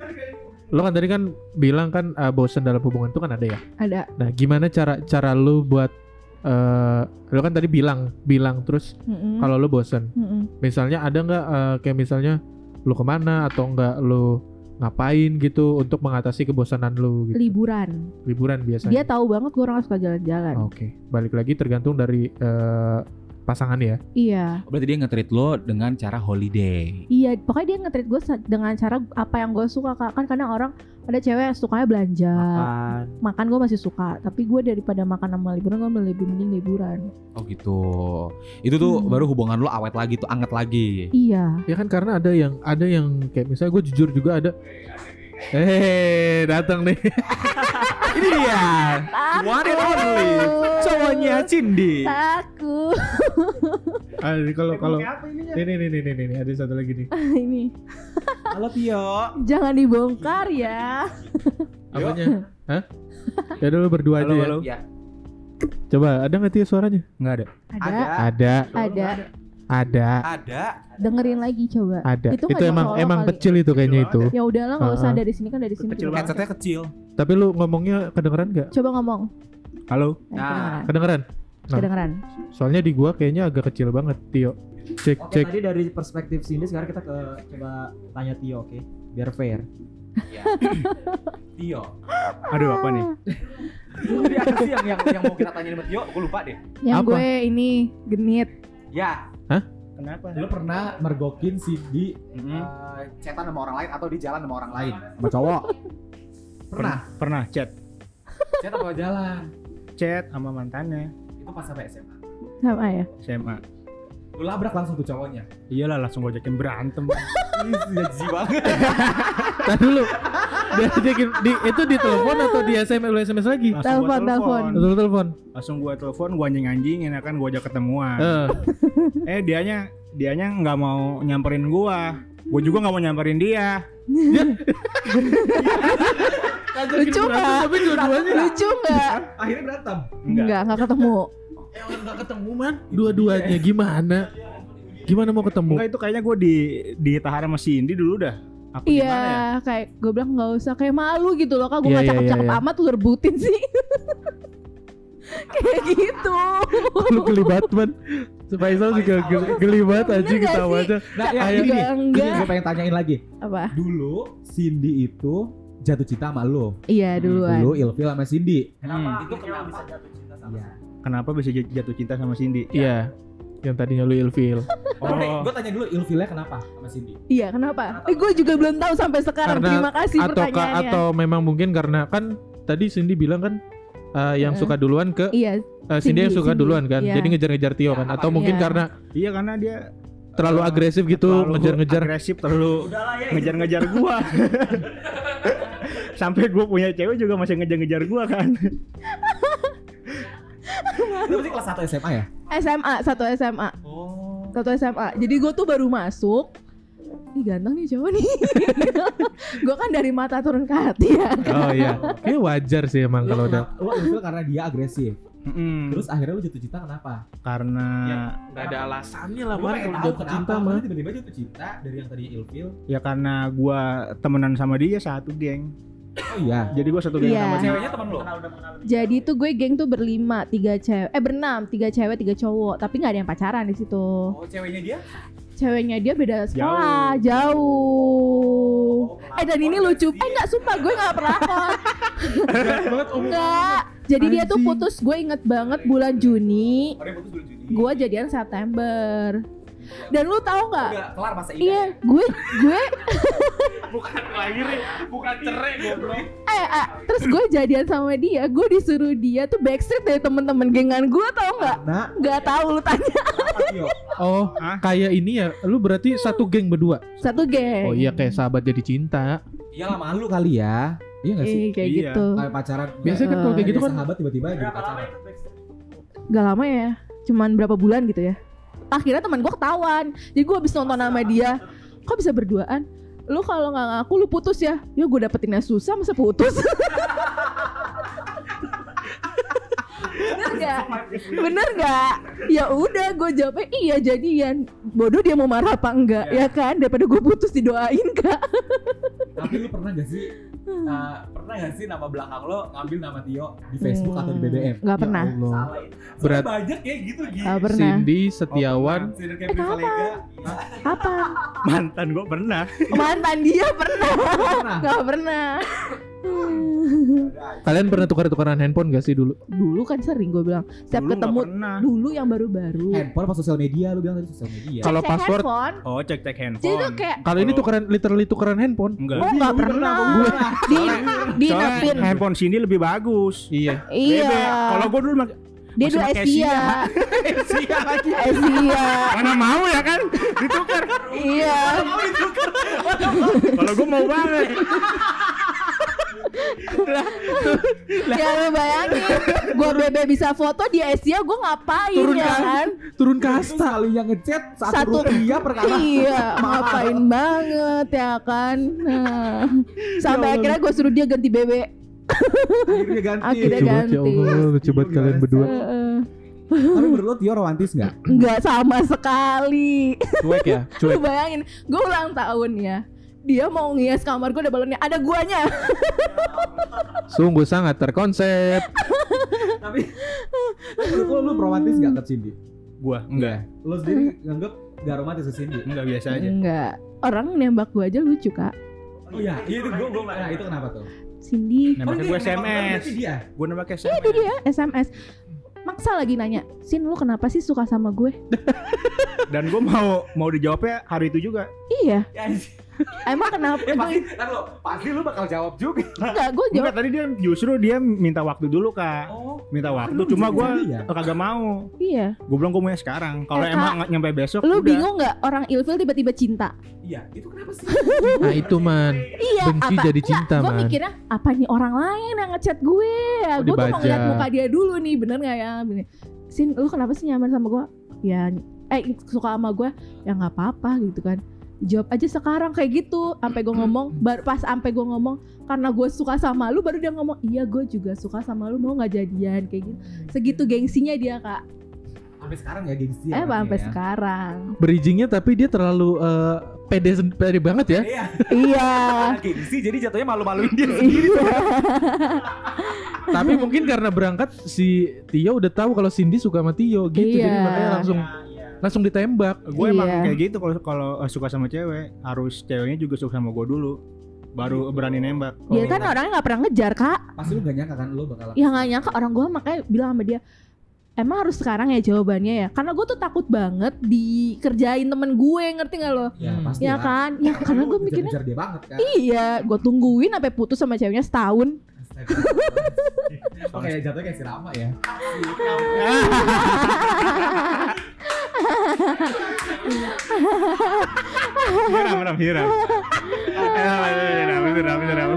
Speaker 1: lu kan tadi kan bilang kan eh, bosen dalam hubungan itu kan ada ya.
Speaker 3: Ada
Speaker 1: Nah, gimana cara cara lu buat eh lu kan tadi bilang bilang terus
Speaker 3: Mm-mm.
Speaker 1: kalau lu bosen.
Speaker 3: Mm-mm.
Speaker 1: Misalnya ada nggak eh, kayak misalnya lu kemana atau enggak lu ngapain gitu untuk mengatasi kebosanan lu gitu.
Speaker 3: liburan.
Speaker 1: Liburan biasanya.
Speaker 3: Dia tahu banget gue orang yang suka jalan-jalan.
Speaker 2: Oh.
Speaker 1: Oke, balik lagi tergantung dari eh, pasangan ya.
Speaker 3: Iya,
Speaker 2: Berarti dia nge-treat lo dengan cara holiday.
Speaker 3: iya. Pokoknya dia nge-treat gue sa- dengan cara apa yang gue suka kak. Kan kadang orang ada cewek yang sukanya belanja,
Speaker 4: Makan.
Speaker 3: makan gue masih suka. Tapi gue daripada makan sama liburan, gue lebih mending liburan.
Speaker 2: Oh gitu. Itu tuh
Speaker 3: Hmm.
Speaker 2: baru hubungan lo awet lagi tuh, anget lagi.
Speaker 3: Iya.
Speaker 1: Ya kan karena ada yang ada yang kayak misalnya gue jujur juga ada. Eh, datang nih. <laughs>
Speaker 2: Ini dia. One and only. Cowoknya Cindy.
Speaker 3: Takut.
Speaker 1: Ah, ini kalau kalau ini nih nih nih nih nih, ada satu lagi
Speaker 3: Ah.
Speaker 1: nih.
Speaker 3: <laughs> Ini
Speaker 2: Halo Tio.
Speaker 3: jangan dibongkar ya.
Speaker 1: Apanya? Hah? Ya dulu berdua aja ya.
Speaker 2: Ya.
Speaker 1: Coba ada nggak Tia suaranya?
Speaker 2: Nggak ada.
Speaker 3: Ada,
Speaker 1: Ada,
Speaker 3: ada.
Speaker 1: ada,
Speaker 2: Ada.
Speaker 3: Dengerin lagi coba.
Speaker 1: ada.
Speaker 3: Itu
Speaker 1: Itu,
Speaker 3: nggak
Speaker 1: emang
Speaker 3: dicolok
Speaker 1: emang
Speaker 3: kali.
Speaker 1: kecil itu kayaknya itu.
Speaker 3: Ya udahlah, nggak usah
Speaker 1: Uh-uh.
Speaker 3: dari sini kan dari sini. juga.
Speaker 2: Headsetnya Ah. kecil.
Speaker 1: Tapi lu ngomongnya kedengeran nggak?
Speaker 3: Coba ngomong.
Speaker 1: Halo.
Speaker 3: Nah,
Speaker 2: Nah.
Speaker 3: kedengeran.
Speaker 1: Kedengeran. Nah.
Speaker 3: Kedengeran.
Speaker 1: Soalnya di gua kayaknya agak kecil banget, Tio. Cek
Speaker 4: Oke,
Speaker 1: cek.
Speaker 4: tadi dari perspektif sini sekarang kita ke coba tanya Tio, oke? Biar fair.
Speaker 2: Tio. Aduh apa nih? Jadi apa sih yang, yang, yang mau kita tanyain sama Tio? Gue lupa deh.
Speaker 3: Yang
Speaker 1: Apa?
Speaker 3: gue ini genit.
Speaker 2: Ya.
Speaker 1: Hah?
Speaker 2: Kenapa? Lo pernah mergokin Cindy eh, chatan sama orang lain atau di jalan sama orang lain?
Speaker 4: Sama cowok.
Speaker 2: Pernah.
Speaker 5: pernah chat
Speaker 2: Chat atau jalan?
Speaker 5: chat sama mantannya
Speaker 2: Itu pas sampai SMA.
Speaker 3: Sama ya.
Speaker 5: SMA lu labrak langsung tuh cowoknya
Speaker 6: Iyalah langsung gue ajakin
Speaker 3: <laughs>
Speaker 6: berantem.
Speaker 5: jijik banget
Speaker 1: <laughs> Tadi dulu. Dia ajakin di itu di telepon atau di SMS lu SMS lagi?
Speaker 6: Langsung gua
Speaker 3: Telepon, telepon.
Speaker 1: Telepon telepon.
Speaker 6: Langsung gue telepon, gue anjing-anjingin ya kan gue ajak ketemuan.
Speaker 1: Eh,
Speaker 6: Eh dianya dianya nggak mau nyamperin gue. Gue juga nggak mau nyamperin dia.
Speaker 3: Lucu nggak?
Speaker 1: tapi dua-duanya
Speaker 3: Lucu nggak?
Speaker 5: akhirnya berantem
Speaker 6: Enggak.
Speaker 3: Nggak, nggak ketemu.
Speaker 5: eh orang gak ketemu man
Speaker 1: dua-duanya gimana? Gimana mau ketemu?
Speaker 6: Enggak itu kayaknya gue di ditahan sama Cindy dulu dah. Apa
Speaker 3: Iya,
Speaker 6: gimana ya?
Speaker 3: kayak gue bilang nggak usah kayak malu gitu loh. Kak gue
Speaker 1: Iya,
Speaker 3: nggak
Speaker 1: iya,
Speaker 3: cakep-cakep
Speaker 1: iya, iya.
Speaker 3: amat lu rebutin sih. <laughs> kayak gitu.
Speaker 1: Lu geli banget, man. Faisal juga geli, geli banget aja
Speaker 3: Bener nggak
Speaker 1: ketawanya.
Speaker 5: nah ya
Speaker 3: Cakep
Speaker 5: ini nih
Speaker 3: juga
Speaker 5: ini
Speaker 3: enggak.
Speaker 5: gue pengen tanyain lagi
Speaker 3: Apa?
Speaker 5: dulu Cindy itu jatuh cinta sama lu
Speaker 3: Iya duluan.
Speaker 5: dulu ilfil sama Cindy
Speaker 6: Hmm,
Speaker 4: itu kenapa bisa jatuh cinta sama
Speaker 5: Iya.
Speaker 6: Kenapa bisa jat- jatuh cinta sama Cindy?
Speaker 1: Iya. Yang tadinya lu ilfil.
Speaker 5: Oh, gue tanya dulu ilfilnya kenapa sama Cindy?
Speaker 3: Iya kenapa? Eh, gue juga belum tahu sampai sekarang.
Speaker 1: Karena-
Speaker 3: Terima kasih
Speaker 1: atau ka-
Speaker 3: pertanyaannya.
Speaker 1: atau memang mungkin karena kan tadi Cindy bilang kan eh, yang
Speaker 3: Eh.
Speaker 1: suka duluan ke
Speaker 3: Iya,
Speaker 1: eh, Cindy, yang
Speaker 3: Cindy,
Speaker 1: suka
Speaker 3: Cindy.
Speaker 1: duluan kan.
Speaker 3: Iya.
Speaker 1: Jadi ngejar-ngejar Tio kan atau mungkin
Speaker 3: Iya.
Speaker 1: karena
Speaker 6: Iya karena dia
Speaker 1: terlalu
Speaker 6: eh,
Speaker 1: agresif gitu
Speaker 6: terlalu
Speaker 1: ngejar-ngejar.
Speaker 6: agresif terlalu ngejar-ngejar gua sampai gua punya cewek juga masih ngejar-ngejar gua kan
Speaker 5: Lu pasti kelas 1 SMA ya?
Speaker 3: SMA satu SMA
Speaker 5: Oh.
Speaker 3: satu SMA. Jadi gue tuh baru masuk. Ih ganteng nih cowok nih. <laughs> gue kan dari mata turun ke hati ya.
Speaker 1: Oh iya. Kayak wajar sih emang
Speaker 3: Iya.
Speaker 1: kalau udah
Speaker 5: Lu ilfil karena dia agresif. Terus
Speaker 6: terus
Speaker 5: akhirnya lu jatuh cinta kenapa?
Speaker 6: karena
Speaker 1: Gak ada alasannya lah
Speaker 5: Gue
Speaker 1: man
Speaker 5: pengen
Speaker 1: kalau
Speaker 5: tahu
Speaker 1: jatuh
Speaker 5: kenapa
Speaker 1: cinta
Speaker 5: lu
Speaker 1: mah.
Speaker 5: tiba-tiba jatuh cinta dari yang tadinya ilfil.
Speaker 6: ya karena gua temenan sama dia satu geng
Speaker 5: Oh iya.
Speaker 6: jadi gua satu geng
Speaker 3: Iya.
Speaker 6: sama dia
Speaker 5: Ceweknya teman lu.
Speaker 3: Jadi tuh gue geng tuh berlima, tiga cewek, eh berenam, tiga cewek, tiga cowok. Tapi nggak ada yang pacaran di situ.
Speaker 5: Oh, ceweknya dia?
Speaker 3: Ceweknya dia beda sekolah,
Speaker 5: Oh,
Speaker 3: jauh. eh dan ini lucu. Eh nggak sumpah gue nggak pernah.
Speaker 5: <laughs>
Speaker 3: Enggak. Jadi dia tuh putus. Gue inget banget bulan Juni.
Speaker 5: Oh,
Speaker 3: Gue jadian September. Dan lu tahu nggak?
Speaker 5: Udah kelar masa ini.
Speaker 3: Iya, gue gue eh, eh, terus gue jadian sama dia, gue disuruh dia tuh backstreet dari temen-temen gengan gue tau nggak?
Speaker 5: Nah,
Speaker 3: Nggak tahu lu tanya
Speaker 1: Oh,
Speaker 6: Hah?
Speaker 1: kayak ini ya. Lu berarti
Speaker 3: Iya.
Speaker 1: satu geng berdua.
Speaker 3: satu geng.
Speaker 1: Oh iya kayak sahabat jadi cinta.
Speaker 5: iyalah Iya malu kali ya. Iya
Speaker 1: kan
Speaker 5: enggak sih?
Speaker 3: Eh, kayak
Speaker 6: Iya.
Speaker 3: gitu.
Speaker 5: Kayak pacaran.
Speaker 1: Biasanya kan kalau kayak
Speaker 3: Iya,
Speaker 1: gitu kan
Speaker 5: sahabat tiba-tiba jadi pacaran.
Speaker 3: Gak lama ya, cuman berapa bulan gitu ya. Akhirnya teman gue ketahuan, jadi gue habis nonton sama dia. Kok bisa berduaan? Lu kalau nggak ngaku lu putus ya? Ya gue dapetinnya susah masa putus. <laughs> Bener gak? Bener gak? Ya udah gue jawabnya iya jadian Bodoh dia mau marah apa enggak
Speaker 5: Iya.
Speaker 3: ya kan Daripada gue putus didoain kan? kak
Speaker 5: Tapi lu pernah gak sih eh, pernah gak sih nama belakang lo ngambil nama Tio
Speaker 3: Iya.
Speaker 5: di Facebook atau di BBM?
Speaker 3: Gak iya. pernah
Speaker 1: Ya Allah.
Speaker 5: Berat.
Speaker 1: Berat.
Speaker 5: Banyak ya gitu gitu.
Speaker 3: Gak pernah
Speaker 1: Cindy
Speaker 6: Oh,
Speaker 1: Setiawan.
Speaker 5: Sindir kayak
Speaker 3: Eh, kenapa?
Speaker 5: Privilega.
Speaker 3: Apa?
Speaker 6: mantan gua pernah
Speaker 3: Mantan dia pernah
Speaker 5: Pernah.
Speaker 3: Gak
Speaker 5: <laughs>
Speaker 3: pernah
Speaker 1: Kalian pernah tukar-tukaran handphone gak sih dulu?
Speaker 3: Dulu kan sering gue bilang Setiap
Speaker 6: Dulu nggak
Speaker 3: ketemu
Speaker 6: pernah
Speaker 3: dulu yang baru-baru
Speaker 5: Handphone apa sosial media lu bilang tadi sosial media.
Speaker 1: Kalau
Speaker 3: Cek
Speaker 1: password-
Speaker 3: handphone,
Speaker 6: oh cek cek handphone
Speaker 3: jadi tuh kayak
Speaker 1: Kalau ini tukaran literally tukaran handphone.
Speaker 6: enggak
Speaker 3: Oh nggak pernah Di Dinepin
Speaker 6: soalnya handphone Cindy lebih bagus
Speaker 1: Iya.
Speaker 3: Iya
Speaker 6: Bebe. kalau gua dulu mak-
Speaker 3: Dia
Speaker 6: masih
Speaker 3: dulu
Speaker 6: pakai
Speaker 3: Asia
Speaker 1: <laughs>
Speaker 6: Sia lagi
Speaker 3: Asia
Speaker 6: mana mau ya kan ditukar
Speaker 3: Iya
Speaker 6: kalau gua mau banget
Speaker 3: Ya lu bayangin Gue bebe bisa foto di Asia gue ngapain
Speaker 1: Turun
Speaker 3: ya
Speaker 1: kan?
Speaker 3: kan
Speaker 1: Turun ke
Speaker 5: Kasta kali yang ngechat satu,
Speaker 3: Satu.
Speaker 5: rupiah per
Speaker 3: <laughs>
Speaker 5: kali.
Speaker 3: Iya
Speaker 1: <laughs>
Speaker 3: ngapain banget ya kan Nah.
Speaker 1: Ya
Speaker 3: Sampai akhirnya gue suruh dia ganti bebe
Speaker 5: Akhirnya ganti.
Speaker 3: Akhirnya
Speaker 1: Lucu banget ya
Speaker 3: ganti.
Speaker 1: Allah, lucu banget
Speaker 6: Iya,
Speaker 1: kalian berdua.
Speaker 3: Heeh.
Speaker 5: Tapi menurut lo Tio romantis nggak?
Speaker 3: Nggak sama sekali
Speaker 1: Cuek ya,
Speaker 3: <laughs> Lu
Speaker 1: cuek.
Speaker 3: bayangin, gue ulang tahun ya. Dia mau ngias kamar gue ada balonnya, ada guanya.
Speaker 1: Sungguh sangat terkonsep.
Speaker 5: Tapi menurut lo lu romantis nggak ke Cindy?
Speaker 6: gua enggak
Speaker 5: Lo sendiri nganggep nggak romantis ke Cindy?
Speaker 6: enggak biasa aja
Speaker 3: Enggak. Orang nembak gue aja lucu kak.
Speaker 5: Oh iya, itu gue gue nah itu kenapa tuh?
Speaker 3: Cindy,
Speaker 5: gue
Speaker 6: nembaknya
Speaker 2: Iya,
Speaker 6: gua SMS
Speaker 5: Dia.
Speaker 6: gua nembaknya SMS
Speaker 3: itu dia SMS. Maksa lagi nanya, Sin lu kenapa sih suka sama gue?
Speaker 6: dan gue mau mau dijawabnya hari itu juga
Speaker 3: Iya. Emang kenapa?
Speaker 5: Ya pasti,
Speaker 3: Emang
Speaker 5: ntar lo, pasti lu bakal jawab juga.
Speaker 3: enggak, gue
Speaker 6: Enggak
Speaker 3: jawab.
Speaker 6: tadi dia justru dia minta waktu dulu kak
Speaker 5: Oh,
Speaker 6: Minta waktu
Speaker 5: Lu
Speaker 6: cuma
Speaker 5: jadi
Speaker 6: gue
Speaker 5: dia.
Speaker 3: ya?
Speaker 6: kagak mau
Speaker 3: Iya.
Speaker 6: Gue bilang gue maunya sekarang Kalau
Speaker 3: Eh, Kak,
Speaker 6: emang nggak nyampe besok
Speaker 3: Lu
Speaker 6: udah.
Speaker 3: bingung nggak orang ilfil tiba-tiba cinta?
Speaker 5: Iya, itu kenapa sih?
Speaker 1: Nah itu man,
Speaker 3: Iya,
Speaker 1: benci jadi cinta
Speaker 3: Gue
Speaker 1: man.
Speaker 3: mikirnya apa nih orang lain yang ngechat gue ya?
Speaker 1: Oh,
Speaker 3: gue tuh mau
Speaker 1: dibaca.
Speaker 3: ngeliat muka dia dulu nih, bener nggak ya? Bener. Sin, lu kenapa sih nyaman sama gue? Ya, eh suka sama gue? Ya nggak apa-apa gitu kan. Jawab aja sekarang kayak gitu. Sampai gue
Speaker 1: <clears throat>
Speaker 3: ngomong, baru pas sampai gue ngomong karena gue suka sama lu, baru dia ngomong iya gue juga suka sama lu mau nggak jadian kayak gitu. Segitu gengsinya dia kak.
Speaker 5: Sampai sekarang ya gengsi
Speaker 1: Iya,
Speaker 3: Eh,
Speaker 5: ya. orangnya
Speaker 3: sampai
Speaker 5: ya.
Speaker 3: sekarang.
Speaker 1: Berijingnya tapi dia terlalu eh, pede sen- pede banget ya.
Speaker 5: Iya,
Speaker 3: iya.
Speaker 5: karena gengsi jadi jatuhnya malu-maluin dia sendiri.
Speaker 3: Iya.
Speaker 1: tapi mungkin karena berangkat si Tio udah tahu kalau Cindy suka sama Tio gitu. Jadi
Speaker 3: Iya.
Speaker 1: makanya langsung langsung ditembak.
Speaker 6: Gue emang
Speaker 3: Iya.
Speaker 6: kayak gitu kalau kalau eh, suka sama cewek harus ceweknya juga suka sama gue dulu baru berani nembak. Oh.
Speaker 3: Dia Gitu. kan orangnya nggak pernah ngejar kak.
Speaker 5: Pasti lu gak nyangka kan lu bakal
Speaker 3: ya nggak nyangka orang gue makanya bilang sama dia emang harus sekarang ya jawabannya ya karena gue tuh takut banget dikerjain temen gue ngerti gak lo
Speaker 5: Ya,
Speaker 1: Hmm.
Speaker 5: pasti
Speaker 3: ya
Speaker 5: lah.
Speaker 3: kan
Speaker 1: <laughs>
Speaker 3: ya karena
Speaker 5: Lu
Speaker 3: gue mikirnya
Speaker 5: ngejar-ngejar dia banget
Speaker 3: <laughs>
Speaker 5: kan.
Speaker 3: iya gue tungguin sampai putus sama ceweknya setahun
Speaker 5: Astaga. Oh, kayak jatuhnya kayak si Rama ya.
Speaker 6: Hiram, hiram,
Speaker 3: <laughs>
Speaker 6: hiram. Hiram, hiram, hiram, hiram.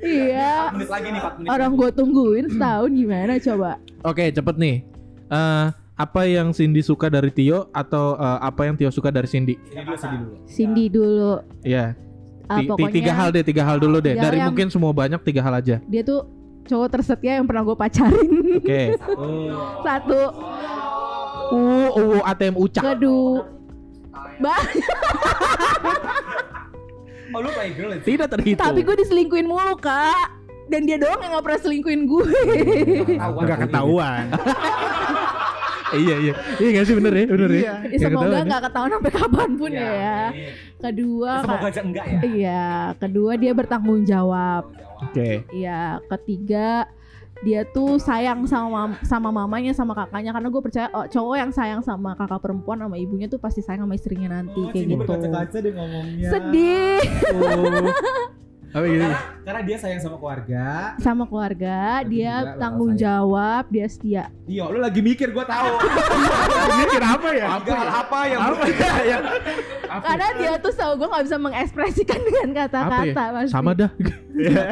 Speaker 3: iya
Speaker 5: 4 menit lagi nih, 4 menit.
Speaker 3: orang gue tungguin setahun gimana coba
Speaker 1: Oke cepet nih. Eh, apa yang Cindy suka dari Tio atau eh, apa yang Tio suka dari Cindy?
Speaker 5: Sini dulu, sini dulu.
Speaker 3: Cindy dulu
Speaker 1: Ya, Iya.
Speaker 3: Ah,
Speaker 1: ti- ti-
Speaker 3: pokoknya
Speaker 1: tiga hal deh, tiga hal dulu deh.
Speaker 3: tiga hal
Speaker 1: Dari
Speaker 3: yang-
Speaker 1: mungkin semua banyak tiga hal aja.
Speaker 3: dia tuh cowok tersetia yang pernah gue pacarin
Speaker 1: <laughs> Oke.
Speaker 3: <laughs> satu
Speaker 1: Uh, uh, ATM ucak.
Speaker 3: kedua Ba-
Speaker 5: Oh, lu kayak girl ya?
Speaker 1: Tidak terhitung.
Speaker 3: tapi gue diselingkuin mulu kak dan dia doang yang gak pernah selingkuin gue
Speaker 5: Ketahuan.
Speaker 6: Gak ketahuan.
Speaker 1: <laughs> iya iya. Iya nggak sih bener ya, bener ya.
Speaker 3: Ya,
Speaker 1: Nggak
Speaker 3: semoga
Speaker 1: ketahuan ya.
Speaker 3: nggak ketahuan sampai kapanpun ya.
Speaker 5: amin.
Speaker 3: Kedua,
Speaker 5: Semoga
Speaker 3: Kak-
Speaker 5: aja enggak ya.
Speaker 3: iya. Kedua dia bertanggung jawab.
Speaker 1: Oke.
Speaker 3: Iya. Ketiga dia tuh sayang sama mam- sama mamanya sama kakaknya karena gue percaya oh, cowok yang sayang sama kakak perempuan sama ibunya tuh pasti sayang sama istrinya nanti kayak
Speaker 5: Cindy
Speaker 3: gitu.
Speaker 5: Oh, berkaca-kaca dia ngomongnya.
Speaker 3: Sedih
Speaker 1: Apa gitu?
Speaker 5: Karena dia sayang sama keluarga.
Speaker 3: sama keluarga,
Speaker 5: Tapi juga
Speaker 3: dia
Speaker 5: bakal
Speaker 3: tanggung
Speaker 5: sayang.
Speaker 3: jawab, dia setia.
Speaker 5: Tio, Iya, lu lagi mikir gua tahu.
Speaker 6: Mikir apa ya?
Speaker 5: Tiga hal apa yang
Speaker 1: Apa ya? yang-
Speaker 3: Karena dia tuh tahu gue nggak bisa mengekspresikan <laughs> dengan
Speaker 1: Apa ya?
Speaker 3: kata-kata. pasti.
Speaker 1: Sama dah.
Speaker 5: Tio,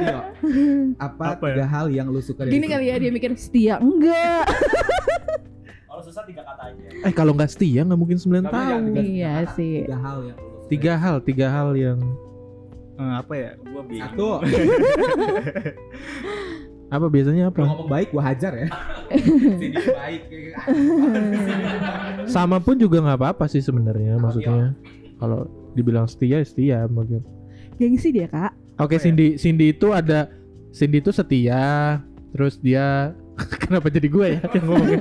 Speaker 5: apa,
Speaker 6: Apa ya?
Speaker 5: tiga hal yang lu suka dari
Speaker 3: Gini
Speaker 5: Cindy?
Speaker 3: kali ya dia mikir setia enggak.
Speaker 1: <laughs>
Speaker 5: Kalau susah tiga kata aja.
Speaker 1: Eh kalau nggak setia nggak mungkin
Speaker 5: Tapi
Speaker 1: 9 tahun.
Speaker 2: ya.
Speaker 5: yang tiga-
Speaker 3: Iya
Speaker 5: tiga kata,
Speaker 3: sih.
Speaker 5: Tiga hal yang lu suka.
Speaker 1: Tiga hal, tiga hal yang
Speaker 6: Eh, apa ya? Gue bingung.
Speaker 5: Satu,
Speaker 1: apa biasanya
Speaker 5: lu
Speaker 1: apa?
Speaker 5: ngomong baik gua hajar
Speaker 3: <laughs>
Speaker 5: ya. Cindy baik. gitu.
Speaker 1: Sama pun juga nggak apa-apa sih sebenarnya maksudnya. Kalau dibilang setia ya setia mungkin.
Speaker 3: Gengsi dia kak.
Speaker 1: Oke
Speaker 6: Apa ya?
Speaker 1: Cindy, Cindy itu ada Cindy itu setia, terus dia <laughs> kenapa jadi gue ya yang ngomongnya?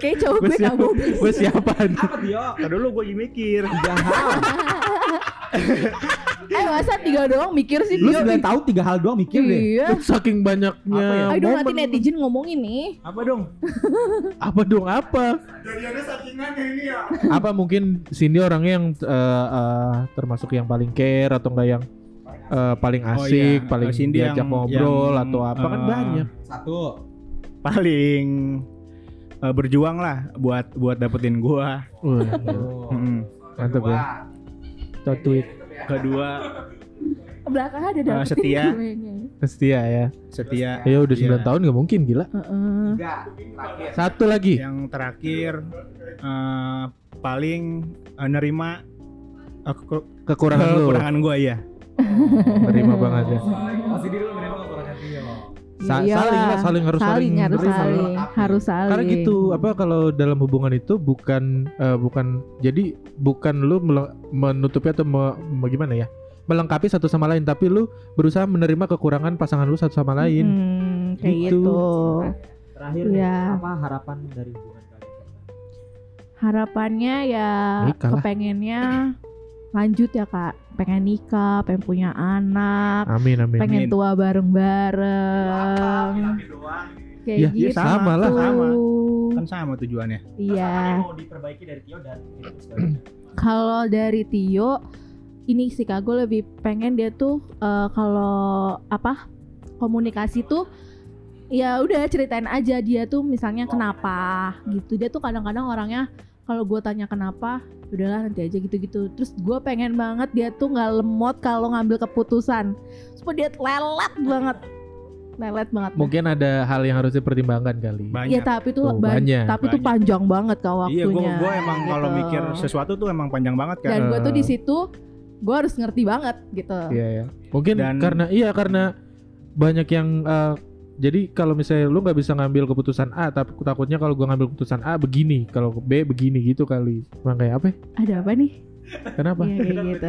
Speaker 3: Kayak cowok
Speaker 1: Gue
Speaker 3: gue
Speaker 1: siapa?
Speaker 3: kabur.
Speaker 1: gue siapa nih?
Speaker 5: Apa Tio?
Speaker 6: Ntar dulu gue lagi mikir.
Speaker 5: Tiga hal.
Speaker 1: Iya.
Speaker 3: Eh masa tiga doang mikir sih
Speaker 5: Lu
Speaker 3: Dio?
Speaker 5: sembilan tahun tiga hal doang mikir deh.
Speaker 3: Iya
Speaker 1: Saking banyaknya.
Speaker 5: Apa ya?
Speaker 3: Aduh nanti
Speaker 1: momen.
Speaker 3: netizen ngomongin nih
Speaker 6: Apa dong?
Speaker 1: apa dong apa?
Speaker 6: Jadi ada sakingan ini ya.
Speaker 1: apa mungkin Cindy orangnya yang eh, eh, termasuk yang paling care atau enggak yang eh, paling
Speaker 6: Oh,
Speaker 1: asik,
Speaker 6: iya.
Speaker 1: paling
Speaker 6: Oh, Cindy
Speaker 1: diajak
Speaker 6: yang-
Speaker 1: ngobrol
Speaker 6: yang,
Speaker 1: atau apa kan
Speaker 6: eh,
Speaker 1: banyak.
Speaker 5: Satu.
Speaker 6: Paling eh, berjuang lah buat buat dapetin gue.
Speaker 1: Wah,
Speaker 5: oh,
Speaker 1: Oh.
Speaker 6: Hmm.
Speaker 1: mantap ya. Tot tweet
Speaker 3: gitu.
Speaker 6: Kedua
Speaker 3: Belakang ada Iya.
Speaker 6: Eh,
Speaker 3: <laughs> dapetin
Speaker 6: setia.
Speaker 1: iya.
Speaker 3: ceweknya.
Speaker 1: setia ya.
Speaker 6: setia.
Speaker 1: Ya udah 9
Speaker 6: Iya.
Speaker 1: tahun nggak mungkin gila.
Speaker 3: Heeh.
Speaker 5: Tiga. Terakhir.
Speaker 1: Satu lagi.
Speaker 6: Yang terakhir eh, paling eh, nerima eh, ke-
Speaker 1: Kekurangan lu.
Speaker 6: kekurangan gue ya.
Speaker 1: Terima banget ya.
Speaker 5: Masih di lu menerima kekurangan Tio.
Speaker 1: Sa-
Speaker 3: Iyalah.
Speaker 1: saling lah, saling, harus
Speaker 3: Iya. saling,
Speaker 1: saling.
Speaker 3: harus
Speaker 1: Harus saling
Speaker 3: saling, harus saling.
Speaker 1: Karena gitu, apa kalau dalam hubungan itu bukan eh, bukan jadi bukan lu mele- menutupi atau me- me- gimana ya? melengkapi satu sama lain tapi lu berusaha menerima kekurangan pasangan lu satu sama lain.
Speaker 3: Hmm, kayak
Speaker 1: Gitu.
Speaker 3: gitu.
Speaker 4: Terakhir
Speaker 3: Iya. Um,
Speaker 4: apa harapan dari hubungan kalian?
Speaker 3: Harapannya ya
Speaker 1: Nikah lah.
Speaker 3: kepengennya lanjut ya kak. Pengen nikah, pengen punya anak,
Speaker 1: Amin amin.
Speaker 3: pengen
Speaker 6: Amin.
Speaker 3: tua bareng-bareng. Kayak
Speaker 1: Ya, ya,
Speaker 3: gitu.
Speaker 1: sama lah.
Speaker 6: Iya, Sama. Kan sama tujuannya.
Speaker 3: Iya. <clears throat>
Speaker 5: mau diperbaiki dari Tio dan
Speaker 3: Kalau dari Tio ini sih kak gue lebih pengen dia tuh eh, kalau apa komunikasi tuh ya udah ceritain aja dia tuh misalnya kenapa gitu dia tuh kadang-kadang orangnya kalau gue tanya kenapa udahlah nanti aja gitu-gitu terus gue pengen banget dia tuh nggak lemot kalau ngambil keputusan supaya dia lelet banget lelet banget
Speaker 1: Mungkin ada hal yang harus dipertimbangkan kali.
Speaker 6: banyak
Speaker 3: ya tapi tuh,
Speaker 1: Tuh,
Speaker 3: ban-
Speaker 1: banyak.
Speaker 3: tapi tuh
Speaker 6: Banyak.
Speaker 3: panjang banget kak
Speaker 6: iya
Speaker 3: waktunya
Speaker 6: gue gue emang kalau
Speaker 3: gitu.
Speaker 6: mikir sesuatu tuh emang panjang banget kan
Speaker 3: dan gue tuh di situ gue harus ngerti banget gitu
Speaker 1: Iya ya. Mungkin
Speaker 6: Dan-
Speaker 1: karena iya karena banyak yang eh, jadi kalau misalnya lu nggak bisa ngambil keputusan A, tapi takutnya kalau gua ngambil keputusan A begini, kalau B begini gitu kali. Makanya apa? ya?
Speaker 3: ada apa nih
Speaker 1: Kenapa?
Speaker 3: iya kayak gitu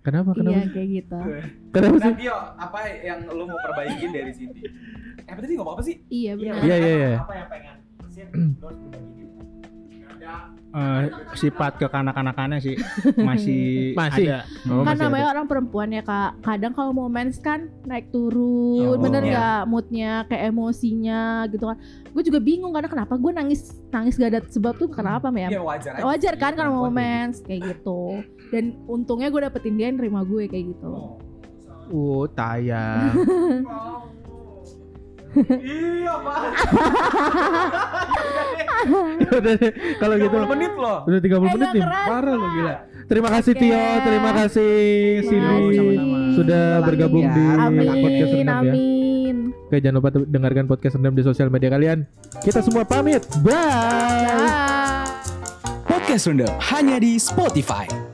Speaker 1: Kenapa? Kenapa?
Speaker 3: iya kayak gitu
Speaker 1: Kenapa
Speaker 5: Nah,
Speaker 1: sih?
Speaker 5: Tio, apa yang lu mau perbaikin dari Cindy? Eh, tadi ngomong apa sih?
Speaker 3: iya benar
Speaker 1: Iya, iya, iya.
Speaker 4: Apa yang pengen? Sin, lu harus berbagi.
Speaker 6: Eh, sifat kekanak-kanakannya
Speaker 3: <laughs>
Speaker 6: sih masih
Speaker 1: Masih.
Speaker 6: ada
Speaker 1: Oh, masih
Speaker 3: kan
Speaker 1: ada.
Speaker 3: namanya orang perempuan ya kak kadang kalau mau mens kan naik turun
Speaker 6: Oh,
Speaker 3: bener
Speaker 6: iya.
Speaker 3: nggak moodnya kayak emosinya gitu kan gue juga bingung karena kenapa gue nangis nangis gak ada sebab tuh kenapa ya
Speaker 5: Iya wajar aja.
Speaker 3: wajar kan
Speaker 5: sih,
Speaker 3: kalau mau
Speaker 5: perempuan
Speaker 3: mens kayak gitu dan untungnya gue dapetin dia yang nerima gue kayak gitu
Speaker 5: Oh.
Speaker 1: Oh, tayang. <laughs>
Speaker 5: Iya, Pak.
Speaker 1: Udah deh, kalau gitu
Speaker 5: 30 menit loh.
Speaker 1: udah 30 menit
Speaker 3: Emang
Speaker 1: nih.
Speaker 3: keren,
Speaker 1: Parah lu
Speaker 3: Pak.
Speaker 1: gila. Terima kasih
Speaker 3: Oke.
Speaker 1: Tio, terima kasih Cindy
Speaker 3: Makasih.
Speaker 6: sama-sama.
Speaker 1: sudah
Speaker 3: Makasih
Speaker 1: bergabung
Speaker 3: ya.
Speaker 1: di podcast
Speaker 3: Amin,
Speaker 1: Rendam ya.
Speaker 3: amin.
Speaker 1: Oke, jangan lupa dengarkan podcast Rendam di sosial media kalian. Kita semua pamit. Bye.
Speaker 3: Bye.
Speaker 7: Podcast Random hanya di Spotify.